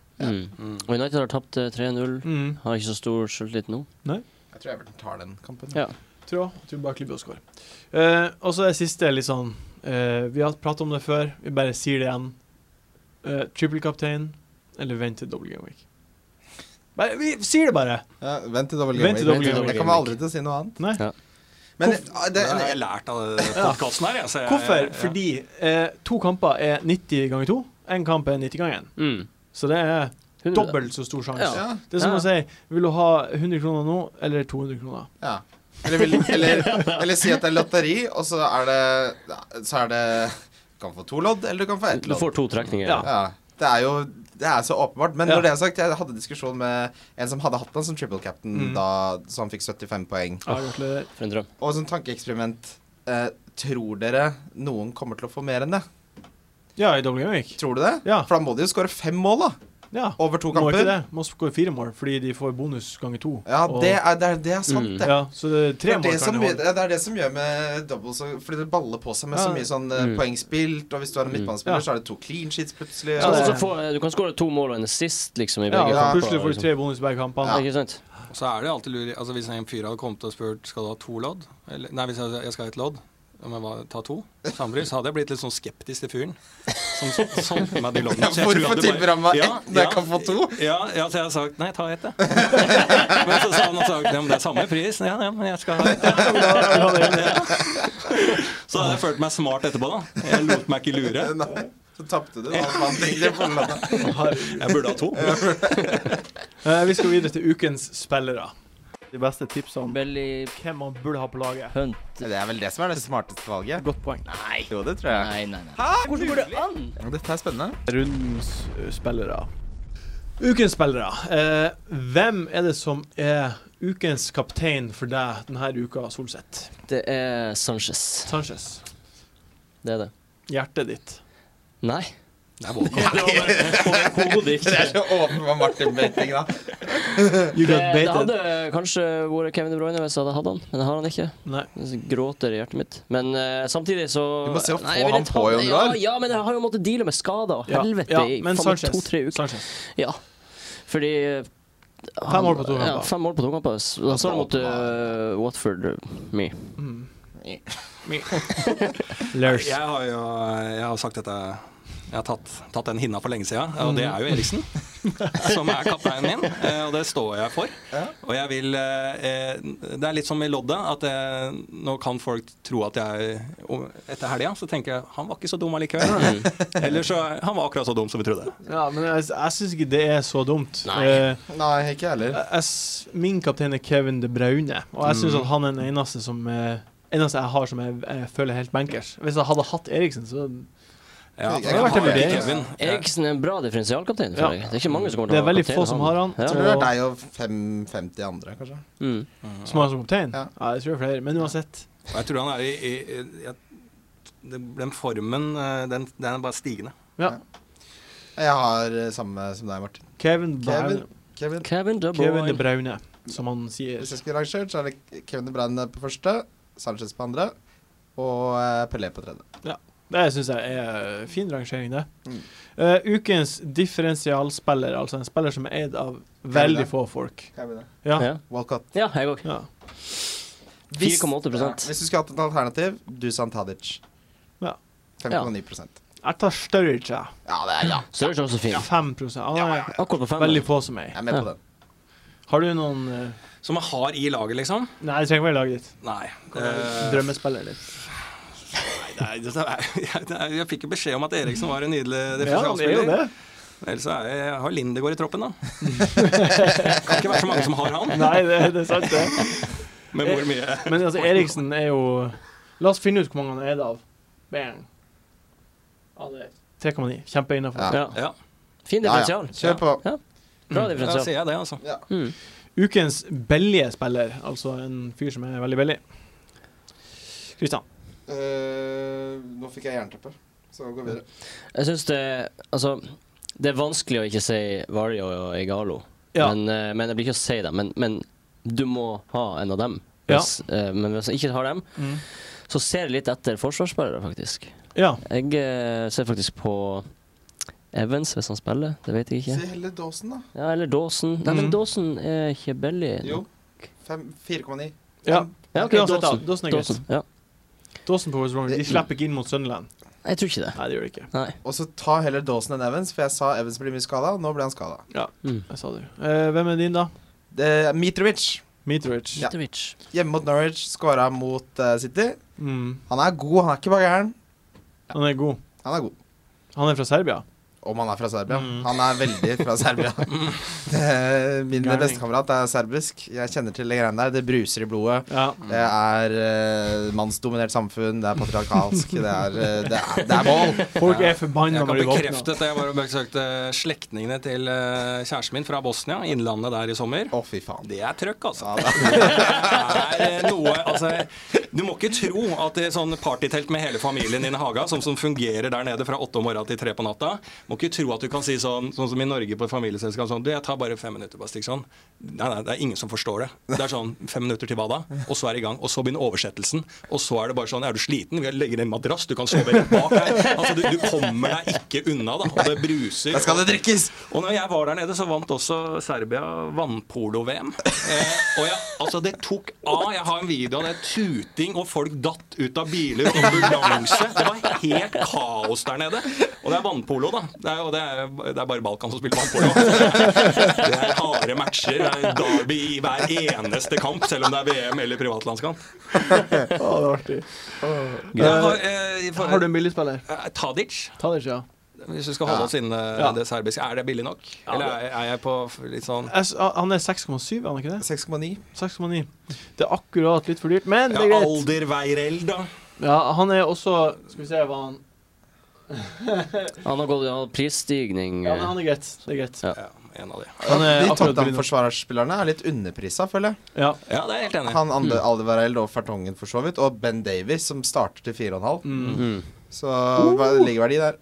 [SPEAKER 2] Mm. Og United har tapt eh, 3-0.
[SPEAKER 1] Mm.
[SPEAKER 2] Har ikke så stor selvtillit nå.
[SPEAKER 5] Jeg tror Everton tar den kampen.
[SPEAKER 2] Ja.
[SPEAKER 1] Tror jeg. Tror Barkley bør score. Eh, og så det siste er litt sånn eh, Vi har pratet om det før, vi bare sier det igjen. Eh, Trippelkaptein eller vent til double game week? Bare, vi sier det bare!
[SPEAKER 5] Ja, vent til double game.
[SPEAKER 1] Vent til
[SPEAKER 5] week.
[SPEAKER 1] double game
[SPEAKER 5] Jeg
[SPEAKER 1] week.
[SPEAKER 5] kommer aldri til å si noe annet.
[SPEAKER 1] Nei.
[SPEAKER 2] Ja.
[SPEAKER 5] Men
[SPEAKER 1] Hvorf-
[SPEAKER 5] ah,
[SPEAKER 4] Det
[SPEAKER 5] det,
[SPEAKER 4] har jeg
[SPEAKER 5] det,
[SPEAKER 4] lært av podkasten her. Jeg, så jeg,
[SPEAKER 1] Hvorfor?
[SPEAKER 4] jeg-
[SPEAKER 1] Fordi eh, to kamper er 90 ganger to. Én kamp er 90 ganger én.
[SPEAKER 2] Mm.
[SPEAKER 1] Så det er
[SPEAKER 2] Hundre.
[SPEAKER 1] dobbelt så stor sjanse.
[SPEAKER 2] Ja.
[SPEAKER 1] Det er som
[SPEAKER 2] Ja.
[SPEAKER 1] å si Vil du ha 100 kroner nå eller 200 kroner?
[SPEAKER 5] ja. Eller, vil, eller, eller si at det er lotteri, og så er det ja, Så er det Du kan få to lodd, eller du kan få ett
[SPEAKER 2] Du
[SPEAKER 5] lodd.
[SPEAKER 2] får to trekninger.
[SPEAKER 1] Ja.
[SPEAKER 5] Ja, det er jo det er så åpenbart. Men
[SPEAKER 1] Ja.
[SPEAKER 5] når det er sagt, jeg hadde diskusjon med en som hadde hatt han som triple captain,
[SPEAKER 1] Mm.
[SPEAKER 5] da, så han fikk 75 poeng.
[SPEAKER 1] Ja, gratulerer.
[SPEAKER 2] For en drøm.
[SPEAKER 5] Og som tankeeksperiment eh, Tror dere noen kommer til å få mer enn det?
[SPEAKER 1] Ja, i double game week.
[SPEAKER 5] Tror du det?
[SPEAKER 1] Ja.
[SPEAKER 5] For da må de jo skåre fem mål, da.
[SPEAKER 1] ja.
[SPEAKER 5] Over to
[SPEAKER 1] Må ikke
[SPEAKER 5] kamper.
[SPEAKER 1] det. Må skåre fire mål fordi de får bonus ganger to.
[SPEAKER 5] Ja,
[SPEAKER 1] Og-
[SPEAKER 5] det er, det er, det er sant,
[SPEAKER 2] Mm.
[SPEAKER 5] det.
[SPEAKER 1] ja, så det er
[SPEAKER 5] Det
[SPEAKER 1] tre
[SPEAKER 5] er
[SPEAKER 1] mål
[SPEAKER 5] det,
[SPEAKER 1] kan
[SPEAKER 5] som,
[SPEAKER 1] de
[SPEAKER 5] gjør-
[SPEAKER 1] holde.
[SPEAKER 5] det er det som gjør med double så, Fordi det baller på seg med så
[SPEAKER 1] Ja.
[SPEAKER 5] mye sånn eh,
[SPEAKER 2] Mm.
[SPEAKER 5] poeng spilt, og hvis du er en
[SPEAKER 2] Mm.
[SPEAKER 5] midtbanespiller,
[SPEAKER 1] Ja.
[SPEAKER 5] så er det to clean sheets plutselig.
[SPEAKER 1] Ja,
[SPEAKER 2] Så-
[SPEAKER 5] og
[SPEAKER 1] det-
[SPEAKER 2] så får- eh, du kan skåre to mål og en assist, liksom, i
[SPEAKER 1] Ja,
[SPEAKER 2] begge
[SPEAKER 5] ja.
[SPEAKER 2] kamper.
[SPEAKER 1] plutselig får du tre bonus hver kamp.
[SPEAKER 2] Ja.
[SPEAKER 1] han.
[SPEAKER 2] Ikke sant?
[SPEAKER 4] Og så er det jo alltid lurig altså Hvis en fyr hadde kommet og spurt Skal du ha to lodd Eller, Nei, hvis jeg, jeg skal ha et lodd ja, Men hva, ta to Samtidig så hadde jeg blitt litt sånn skeptisk til fyren Som som- som på meg de loddene Så jeg tror
[SPEAKER 5] Hvorfor
[SPEAKER 4] at det bare-
[SPEAKER 5] tilbyr han meg
[SPEAKER 4] Ja,
[SPEAKER 5] ett når
[SPEAKER 4] ja.
[SPEAKER 5] jeg kan få to?
[SPEAKER 4] Ja, ja, så jeg hadde sagt Nei, ta ett jeg Men så sa han og sagt Ja, men det er samme pris Ja, ja, men jeg skal ha ett jeg. Ja. Så hadde jeg følt meg smart etterpå da Jeg lot meg ikke lure
[SPEAKER 5] Nei, så tapte du. da. Man tenker på lørdag.
[SPEAKER 4] Jeg burde ha to
[SPEAKER 1] Eh, Vi skal videre til ukens spillere. De beste tipsene om
[SPEAKER 2] Belly
[SPEAKER 1] hvem man burde ha på laget.
[SPEAKER 2] Hunt.
[SPEAKER 5] Det er vel det som er det smarteste valget.
[SPEAKER 1] Godt poeng.
[SPEAKER 5] Jo, det tror jeg.
[SPEAKER 2] Nei, nei, nei. Hvordan går det an?
[SPEAKER 5] Dette er spennende.
[SPEAKER 1] Rundens eh, spillere. Ukens spillere. Eh, hvem er det som er ukens kaptein for deg denne uka, Solseth?
[SPEAKER 2] Det er Sanchez.
[SPEAKER 1] Sanchez.
[SPEAKER 2] Det er det.
[SPEAKER 1] Hjertet ditt.
[SPEAKER 2] Nei.
[SPEAKER 4] Det er walkover.
[SPEAKER 2] Det var bare Håvard Kodik.
[SPEAKER 5] Det er så åpenbar Martin-baiting, da.
[SPEAKER 1] You got
[SPEAKER 2] Det, Eh, det
[SPEAKER 1] baited.
[SPEAKER 2] hadde kanskje vært Kevin De Bruyne hvis jeg hadde hatt han, men det har han ikke.
[SPEAKER 1] Nei.
[SPEAKER 2] Det gråter i hjertet mitt. Men eh, samtidig så
[SPEAKER 5] Du må se å få
[SPEAKER 2] jeg vil
[SPEAKER 5] han
[SPEAKER 2] ta-
[SPEAKER 5] på i
[SPEAKER 2] ja,
[SPEAKER 5] omgang.
[SPEAKER 2] ja, men jeg har jo måttet deale med skader og
[SPEAKER 1] Ja,
[SPEAKER 2] helvete
[SPEAKER 1] ja,
[SPEAKER 2] i
[SPEAKER 1] men
[SPEAKER 2] faen meg
[SPEAKER 1] Sanchez.
[SPEAKER 2] to-tre uker.
[SPEAKER 1] Sanchez.
[SPEAKER 2] Ja, fordi eh,
[SPEAKER 1] Fem mål på to kamper.
[SPEAKER 2] Ja, fem mål på to kamper. Så Da står det mot eh, Watford eh, me.
[SPEAKER 1] Mm.
[SPEAKER 5] Me.
[SPEAKER 1] Lars.
[SPEAKER 4] Jeg har jo eh, jeg har sagt dette Jeg har tatt, tatt den hinna for lenge siden, og det er jo Eriksen. Som er kapteinen min, eh, og det står jeg for. Og jeg vil eh, eh, Det er litt som i loddet, at eh, nå kan folk tro at jeg og Etter helga så tenker jeg han var ikke så dum allikevel. Eller så eh, Han var akkurat så dum som vi trodde.
[SPEAKER 1] Ja, men jeg, jeg syns ikke det er så dumt.
[SPEAKER 2] Nei.
[SPEAKER 1] Eh,
[SPEAKER 5] Nei, ikke jeg heller.
[SPEAKER 1] jeg, jeg s- min kaptein er Kevin De Braune, og jeg syns
[SPEAKER 2] Mm.
[SPEAKER 1] at han er den eneste som eh, eneste jeg har som jeg, jeg føler er helt bankers. Hvis jeg hadde hatt Eriksen, så
[SPEAKER 2] Mm.
[SPEAKER 4] Ja, for
[SPEAKER 5] Jeg kan
[SPEAKER 4] da
[SPEAKER 5] ha
[SPEAKER 4] har jeg
[SPEAKER 1] det.
[SPEAKER 4] Kevin.
[SPEAKER 2] Eriksen er en bra differensialkaptein.
[SPEAKER 1] Ja.
[SPEAKER 2] føler jeg. Det er ikke mange som kommer
[SPEAKER 1] Det
[SPEAKER 2] til
[SPEAKER 1] er
[SPEAKER 2] å ha
[SPEAKER 1] veldig
[SPEAKER 2] kaptein
[SPEAKER 1] få som
[SPEAKER 2] han.
[SPEAKER 1] har han.
[SPEAKER 2] Ja.
[SPEAKER 5] Jeg tror det er deg og 550 andre, kanskje.
[SPEAKER 2] Mm.
[SPEAKER 1] Som har han som kaptein? Ja.
[SPEAKER 5] Ja.
[SPEAKER 1] jeg tror det er flere. Men uansett.
[SPEAKER 4] Og jeg tror han er i, i, i jeg, det- Den formen, eh, den, den er bare stigende.
[SPEAKER 1] Ja.
[SPEAKER 5] Jeg har eh, samme som deg, Martin.
[SPEAKER 1] Kevin, Braune,
[SPEAKER 5] Kevin, Kevin.
[SPEAKER 2] Kevin De
[SPEAKER 1] Kevin De
[SPEAKER 2] Bruyne.
[SPEAKER 1] Braune, som han sier.
[SPEAKER 5] Hvis jeg skulle rangert, så er det Kevin De Bruyne på første, Sanchez på andre og eh, Pelé på tredje.
[SPEAKER 1] Det syns jeg er eh, fin rangering, det.
[SPEAKER 5] Mm.
[SPEAKER 1] Eh, ukens differensialspiller, altså en spiller som er eid av veldig få folk. Ja.
[SPEAKER 2] Ja.
[SPEAKER 5] Walcott.
[SPEAKER 2] ja, jeg òg.
[SPEAKER 1] ja.
[SPEAKER 2] 4,8
[SPEAKER 5] Hvis du skulle hatt et alternativ, Dusan Tadic.
[SPEAKER 1] Ja.
[SPEAKER 5] 5,9
[SPEAKER 1] Jeg tar Sturridge, jeg.
[SPEAKER 5] Ja, det er ja.
[SPEAKER 2] Sturridge er også fin.
[SPEAKER 1] 5 Han er
[SPEAKER 2] Akkurat på fem.
[SPEAKER 1] veldig få som er.
[SPEAKER 5] Jeg er med
[SPEAKER 2] Ja.
[SPEAKER 5] på den.
[SPEAKER 1] Har du noen eh,
[SPEAKER 4] Som man har i laget, liksom.
[SPEAKER 1] Nei, det trenger ikke være laget ditt.
[SPEAKER 4] Nei. eh,
[SPEAKER 1] Drømmespiller ditt.
[SPEAKER 4] Nei, det er, jeg, det er, jeg fikk jo beskjed om at Eriksen var en nydelig
[SPEAKER 1] Ja, han er jo
[SPEAKER 4] differensialspiller.
[SPEAKER 1] det.
[SPEAKER 4] Ellers er jeg, jeg har Lindegård i troppen, da. kan ikke være så mange som har han.
[SPEAKER 1] Nei, det, det er sant, det.
[SPEAKER 4] Men hvor mye
[SPEAKER 1] Men altså, Eriksen er jo La oss finne ut hvor mange han er det av. Bang. Ja, det er 3,9. Kjempe
[SPEAKER 5] Ja.
[SPEAKER 1] innafor.
[SPEAKER 2] Ja.
[SPEAKER 4] Ja,
[SPEAKER 2] Fin
[SPEAKER 5] Ja, ja.
[SPEAKER 2] differensial.
[SPEAKER 5] Kjør på.
[SPEAKER 2] Bra
[SPEAKER 4] da
[SPEAKER 2] differensial.
[SPEAKER 4] sier jeg det, altså.
[SPEAKER 5] Ja.
[SPEAKER 2] Mm.
[SPEAKER 1] Ukens billige spiller, altså en fyr som er veldig billig. Kristian.
[SPEAKER 5] Eh, nå fikk jeg jernteppe, så gå videre.
[SPEAKER 2] Jeg syns det Altså, det er vanskelig å ikke si Vario og Igalo.
[SPEAKER 1] Ja.
[SPEAKER 2] Men, eh, men jeg blir ikke å si dem. Men, men du må ha en av dem.
[SPEAKER 1] Ja.
[SPEAKER 2] Hvis, eh, men hvis jeg ikke har dem,
[SPEAKER 1] Mm.
[SPEAKER 2] så ser jeg litt etter forsvarsspillere, faktisk.
[SPEAKER 1] Ja.
[SPEAKER 2] Jeg eh, ser faktisk på Evans, hvis han spiller. Det vet jeg
[SPEAKER 5] Si
[SPEAKER 2] ikke.
[SPEAKER 5] heller Dawson, da.
[SPEAKER 2] Ja, eller Dawson. Nei,
[SPEAKER 1] Mm.
[SPEAKER 2] men Dawson er ikke billig.
[SPEAKER 5] Jo. Fem- 4,9.
[SPEAKER 1] ja.
[SPEAKER 2] Ja, ok,
[SPEAKER 1] Uansett, da.
[SPEAKER 2] Dawson.
[SPEAKER 1] Dawson er greit.
[SPEAKER 2] Dawson. Ja.
[SPEAKER 1] Dawson på West Bromwich, de
[SPEAKER 2] Det-
[SPEAKER 1] slipper ikke inn mot Sunderland.
[SPEAKER 2] Jeg tror ikke det.
[SPEAKER 1] Nei, det gjør de ikke.
[SPEAKER 2] Nei.
[SPEAKER 5] Og så ta heller Dawson enn Evans, for jeg sa Evans blir mye skada, og nå ble han skada.
[SPEAKER 2] Mm.
[SPEAKER 1] Jeg sa det jo. Eh, hvem er din, da?
[SPEAKER 5] Mitrovic,
[SPEAKER 1] Mitrovic.
[SPEAKER 5] Ja.
[SPEAKER 2] Mitrovic.
[SPEAKER 5] hjemme mot Norwich, skåra mot eh, City.
[SPEAKER 1] Mm.
[SPEAKER 5] Han er god, han er ikke bare gæren.
[SPEAKER 1] Han er god.
[SPEAKER 5] Han er god.
[SPEAKER 1] Han er fra Serbia.
[SPEAKER 5] Om han er fra Serbia.
[SPEAKER 1] Mm.
[SPEAKER 5] Han er veldig fra Serbia. Det er- Min
[SPEAKER 1] Gærning.
[SPEAKER 5] bestekamerat er serbisk. Jeg kjenner til de greiene der. Det bruser i blodet.
[SPEAKER 1] Mm. Ja.
[SPEAKER 5] Det er eh, mannsdominert samfunn, det er patriarkalsk, det er, eh, det er, det er vold.
[SPEAKER 1] Folk
[SPEAKER 4] Ja.
[SPEAKER 1] er forbanna
[SPEAKER 4] Jeg
[SPEAKER 1] når
[SPEAKER 4] kan
[SPEAKER 1] de våkner.
[SPEAKER 4] bekrefte at jeg var og besøkte slektningene til eh, kjæresten min fra Bosnia, innlandet der i sommer.
[SPEAKER 5] Å, fy faen.
[SPEAKER 4] Det er trøkk, altså.
[SPEAKER 5] Ja, det er-
[SPEAKER 4] Det er eh, noe, altså, du må ikke tro at det er sånn partytelt med hele familien din i haga, sånn som, som fungerer der nede fra åtte om morgenen til tre på natta Må ikke tro at du kan si sånn, sånn som i Norge på et familieselskap sånn Du, jeg tar bare fem minutter, bare stikk sånn. Nei, nei, det er ingen som forstår det. Det er sånn fem minutter til hva da? Og så er det i gang. Og så begynner oversettelsen. Og så er det bare sånn Er du sliten? Vi legger ned en madrass, du kan sove rett bak her. Altså, du, du kommer deg ikke unna, da. Og det bruser.
[SPEAKER 5] Da skal det drikkes!
[SPEAKER 4] Og når jeg var der nede, så vant også Serbia vannpolo-VM. Eh, og jeg, altså, det tok av. Jeg har en video av det. Tuting, og folk datt ut av biler. og Ambulanse. Det var helt kaos der nede. Og det er vannpolo, da. Det er, og det er, det er bare Balkan som spiller vannpolo. Det er harde matcher. Det er derby i hver eneste kamp, selv om det er VM eller privatlandskamp.
[SPEAKER 1] Å, det var artig.
[SPEAKER 4] Jeg har, eh, i forhold-
[SPEAKER 1] Har du en billigspiller?
[SPEAKER 4] Eh, Tadic,
[SPEAKER 1] Ta det ikke, ja.
[SPEAKER 4] hvis du skal holde oss inne
[SPEAKER 1] Ja.
[SPEAKER 4] det serbiske, er det billig nok? Eller er, er jeg på litt sånn
[SPEAKER 1] Jeg s- Han er 6,7, er han ikke det?
[SPEAKER 5] 6,9.
[SPEAKER 1] 6,9. Det er akkurat litt for dyrt, men
[SPEAKER 4] ja,
[SPEAKER 1] det er greit.
[SPEAKER 4] Alder Veirel, da?
[SPEAKER 1] Ja, han er også Skal vi se hva han
[SPEAKER 2] Han har gått han har prisstigning.
[SPEAKER 1] Ja, men han er greit. Det er greit.
[SPEAKER 2] Ja.
[SPEAKER 4] Ja, en av de.
[SPEAKER 1] Han er akkurat billig
[SPEAKER 5] de
[SPEAKER 1] nå.
[SPEAKER 5] Tottenham-forsvarsspillerne er litt underprisa, føler jeg.
[SPEAKER 1] Ja.
[SPEAKER 4] Ja, det er jeg helt
[SPEAKER 1] Mm.
[SPEAKER 4] enig. i.
[SPEAKER 5] Han Ande Aldevareld og Fertongen, for så vidt. Og Ben Davies, som starter til 4,5.
[SPEAKER 1] Mm.
[SPEAKER 2] Mm.
[SPEAKER 5] Så hva ligger verdi der?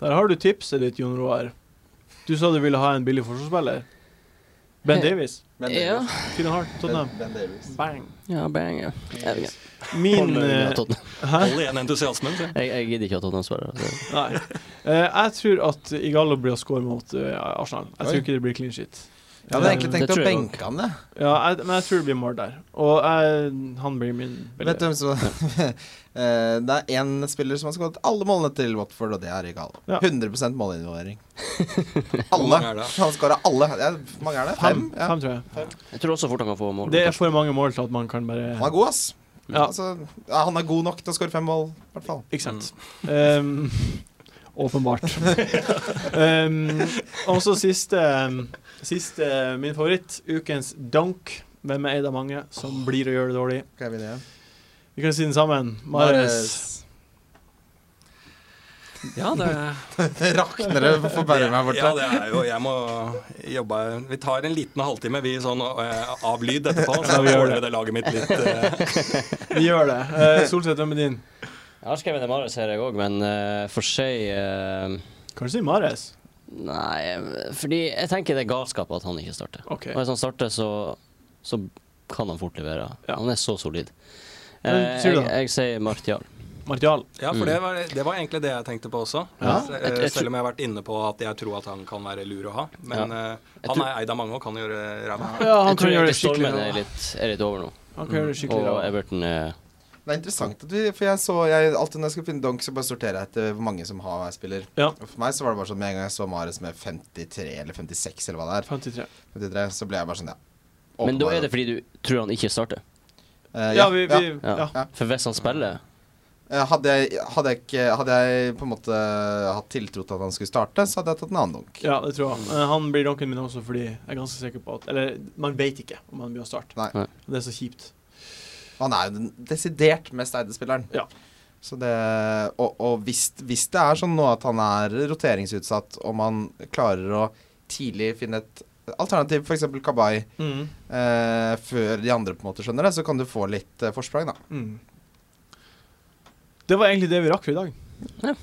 [SPEAKER 1] Der har du tipset ditt, Jon Roar. Du sa du ville ha en billig forsvarsspiller. Ben
[SPEAKER 2] Ja.
[SPEAKER 1] Davies.
[SPEAKER 5] Ben
[SPEAKER 2] Ja.
[SPEAKER 5] Davies.
[SPEAKER 1] Fine Hart, Tottenham.
[SPEAKER 5] Ben, ben Davies.
[SPEAKER 1] Bang.
[SPEAKER 2] Ja, bang, ja. Jeg, vet ikke.
[SPEAKER 1] Min
[SPEAKER 2] Holder
[SPEAKER 1] eh,
[SPEAKER 2] unna Tottenham.
[SPEAKER 1] Hæ?
[SPEAKER 4] Hold igjen entusiasmen. sier jeg.
[SPEAKER 2] jeg, jeg gidder ikke at Tottenham spiller. Det-
[SPEAKER 1] Nei. Eh, jeg tror at Igalo blir å score mot eh, Arsenal. Jeg tror
[SPEAKER 5] Oi.
[SPEAKER 1] ikke det blir clean shit.
[SPEAKER 5] Jeg hadde egentlig
[SPEAKER 2] Det
[SPEAKER 5] tenkt å
[SPEAKER 2] tror jeg også.
[SPEAKER 5] benke han, jeg.
[SPEAKER 1] Ja, jeg, men jeg tror det blir mål der. Og jeg, han blir min
[SPEAKER 5] Vet du hvem som Eh, Det er én spiller som har skåret alle målene til Watford, og det er Igalo.
[SPEAKER 1] Ja.
[SPEAKER 5] 100 målinvolvering.
[SPEAKER 4] Hvor
[SPEAKER 5] Alle.
[SPEAKER 4] mange er det?
[SPEAKER 5] Han skåra alle. Ja, hvor mange er det?
[SPEAKER 1] Fem,
[SPEAKER 5] Fem? Ja.
[SPEAKER 1] fem, tror jeg.
[SPEAKER 2] Jeg tror også fort han kan få mål.
[SPEAKER 1] Det er for mange mål til at man kan bare
[SPEAKER 5] Han er god, ass.
[SPEAKER 1] Ja.
[SPEAKER 5] Altså, ja, han er god nok til å skåre fem mål, i hvert fall.
[SPEAKER 1] Ikke sant. Ehm, åpenbart. Ehm, og så siste, siste min favoritt, ukens donk. Hvem er en av mange som blir å gjøre det dårlig?
[SPEAKER 5] Hva er vi det?
[SPEAKER 1] Vi kan si den sammen. Mares.
[SPEAKER 4] Ja, det,
[SPEAKER 5] Det rakner det for bare meg borte.
[SPEAKER 4] ja, det er jo Jeg må jobbe Vi tar en liten halvtime, vi, sånn eh, av lyd etterpå. Så
[SPEAKER 1] Ja, vi gjør
[SPEAKER 4] tåler
[SPEAKER 1] det.
[SPEAKER 4] vi det laget mitt litt eh,
[SPEAKER 1] Vi gjør det. Eh, Solseth, hvem er din?
[SPEAKER 2] Jeg har skrevet det Marius her, jeg òg, men eh, for seg eh,
[SPEAKER 1] Kan du si Mares?
[SPEAKER 2] Nei, eh, fordi jeg tenker det er galskap at han ikke starter.
[SPEAKER 1] OK.
[SPEAKER 2] Og Hvis han starter, så, så kan han fort levere.
[SPEAKER 1] Ja.
[SPEAKER 2] Han er så solid.
[SPEAKER 1] Men
[SPEAKER 2] Eh,
[SPEAKER 1] sier du
[SPEAKER 2] jeg,
[SPEAKER 1] da?
[SPEAKER 2] jeg sier Martial.
[SPEAKER 1] Martial.
[SPEAKER 4] Ja, for det var, det var egentlig det jeg tenkte på også.
[SPEAKER 1] Ja.
[SPEAKER 4] Se-
[SPEAKER 2] Jeg- jeg
[SPEAKER 4] Selv om jeg har vært inne på at jeg tror at han kan være lur å ha. Men eh,
[SPEAKER 2] Jeg
[SPEAKER 4] han
[SPEAKER 2] tror-
[SPEAKER 4] er eid av mange og kan gjøre ræva.
[SPEAKER 1] Ja, han
[SPEAKER 2] jeg
[SPEAKER 1] kan
[SPEAKER 2] tror
[SPEAKER 1] gjøre
[SPEAKER 2] egentlig
[SPEAKER 1] det skikkelig
[SPEAKER 2] stormen er
[SPEAKER 1] bra.
[SPEAKER 2] litt, er litt over nå.
[SPEAKER 1] Han kan gjøre det skikkelig
[SPEAKER 2] Og
[SPEAKER 1] bra.
[SPEAKER 2] Everton er
[SPEAKER 5] Det er interessant at vi For jeg så jeg, Alltid når jeg skal finne donk, så bare sorterer jeg etter hvor mange som har hver spiller.
[SPEAKER 1] Ja.
[SPEAKER 5] Og For meg så var det bare sånn med en gang jeg så Mares med 53 eller 56 eller hva det er,
[SPEAKER 1] 53.
[SPEAKER 5] 53, så ble jeg bare sånn, ja.
[SPEAKER 2] Men da
[SPEAKER 5] Åpenbar.
[SPEAKER 2] er det fordi du tror han ikke starter.
[SPEAKER 5] Eh,
[SPEAKER 1] Ja, vi, vi
[SPEAKER 5] ja.
[SPEAKER 2] Ja.
[SPEAKER 1] ja.
[SPEAKER 2] For hvis han spiller
[SPEAKER 5] Eh, Hadde jeg, hadde, jeg ikke, hadde jeg på en måte hatt tiltro til at han skulle starte, så hadde jeg tatt en annen donk.
[SPEAKER 1] ja, det tror jeg. Eh, Han blir donken min også fordi jeg er ganske sikker på at Eller man vet ikke om han blir å starte.
[SPEAKER 5] Nei.
[SPEAKER 2] Nei.
[SPEAKER 1] Det er så kjipt.
[SPEAKER 5] Han er jo den desidert mest eide spilleren.
[SPEAKER 1] Ja.
[SPEAKER 5] Så det, og og hvis, hvis det er sånn nå at han er roteringsutsatt, og man klarer å tidlig finne et alternativ, f.eks. Kabay,
[SPEAKER 1] Mm.
[SPEAKER 5] eh, før de andre på en måte skjønner det, så kan du få litt eh, forsprang, da.
[SPEAKER 1] Mm. Det var egentlig det vi rakk for i dag.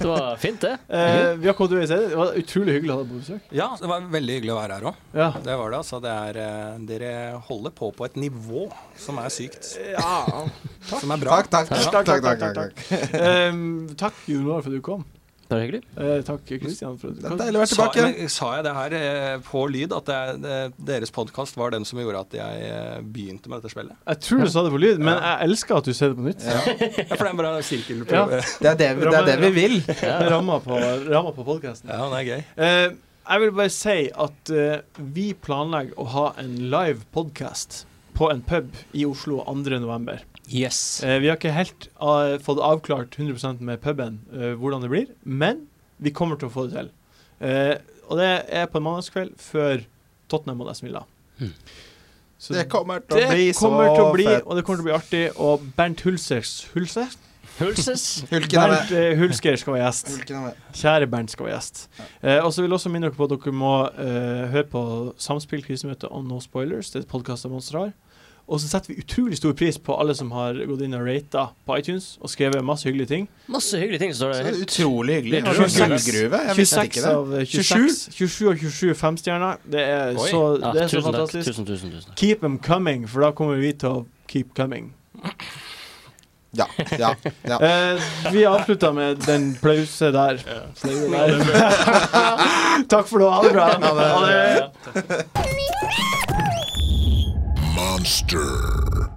[SPEAKER 2] Det var fint, det.
[SPEAKER 1] Eh, vi har kommet til veis ende. Det var utrolig hyggelig å ha deg på besøk.
[SPEAKER 4] Ja, det var veldig hyggelig å være her òg.
[SPEAKER 1] Ja.
[SPEAKER 4] Det var det, altså. Det er, eh, dere holder på på et nivå som er sykt. Som er bra.
[SPEAKER 5] Takk, takk,
[SPEAKER 4] Ja.
[SPEAKER 5] takk, takk, takk, takk,
[SPEAKER 1] Em, takk, Jon Roar, for at du kom.
[SPEAKER 2] Bare hyggelig.
[SPEAKER 1] Eh, takk, Kristian, for at du
[SPEAKER 5] Det er
[SPEAKER 1] kom.
[SPEAKER 5] deilig å være
[SPEAKER 4] Sa,
[SPEAKER 5] tilbake.
[SPEAKER 4] men sa jeg det her eh, på lyd, at det, er- det, deres podkast var den som gjorde at jeg eh, begynte med dette spillet?
[SPEAKER 1] Jeg tror du sa det på lyd, men jeg elsker at du ser det på nytt.
[SPEAKER 5] Ja.
[SPEAKER 4] Ja, for det er en bra sirkelprøve.
[SPEAKER 5] Det er det, vi- det er det vi vil.
[SPEAKER 1] Det rammer på, rammer på podcasten.
[SPEAKER 4] Ja, det er gøy.
[SPEAKER 1] Eh, jeg vil bare si at eh, vi planlegger å ha en live podcast på en pub i Oslo 2. november.
[SPEAKER 2] Yes.
[SPEAKER 1] Eh, vi har ikke helt eh, fått avklart 100 med puben eh, hvordan det blir, men vi kommer til å få det til. Eh, og det er på en mandagskveld før Tottenham og Aston Villa.
[SPEAKER 2] Mm.
[SPEAKER 1] Så
[SPEAKER 5] Det kommer til
[SPEAKER 1] det
[SPEAKER 5] å bli så
[SPEAKER 1] kommer til å bli,
[SPEAKER 5] fett.
[SPEAKER 1] og det kommer til å bli artig. Og Bernt Hulsers Hulser?
[SPEAKER 2] Hulses.
[SPEAKER 5] Hulken er
[SPEAKER 1] Bernt
[SPEAKER 5] med.
[SPEAKER 1] eh, Hulsker skal være gjest.
[SPEAKER 5] Hulken er med.
[SPEAKER 1] Kjære Bernt skal være gjest. Eh, og så vil jeg også minne dere på at dere må eh, høre på Samspill krisemøte og No Spoilers. Det er et podkast av Monster har. Og så setter vi utrolig stor pris på alle som har gått inn og rata på iTunes og skrevet masse hyggelige ting.
[SPEAKER 2] Masse hyggelige ting som står
[SPEAKER 5] Så
[SPEAKER 2] der.
[SPEAKER 5] det er utrolig hyggelig.
[SPEAKER 1] Det er
[SPEAKER 5] Har du en
[SPEAKER 1] 26.
[SPEAKER 5] gullgruve? Jeg visste
[SPEAKER 1] 26
[SPEAKER 5] ikke det.
[SPEAKER 1] av eh, 26, 27 av 27 femstjerner. Det er
[SPEAKER 4] Oi.
[SPEAKER 1] så,
[SPEAKER 2] Ja,
[SPEAKER 1] det er så
[SPEAKER 2] tusen takk.
[SPEAKER 1] fantastisk.
[SPEAKER 2] Tusen, tusen, tusen takk.
[SPEAKER 1] Keep them coming, for da kommer vi til å keep coming.
[SPEAKER 5] Ja, ja, ja.
[SPEAKER 1] Eh, vi avslutter med den pause der. Flaue der. Takk for nå. Ha det bra. Ha det.
[SPEAKER 3] Monster.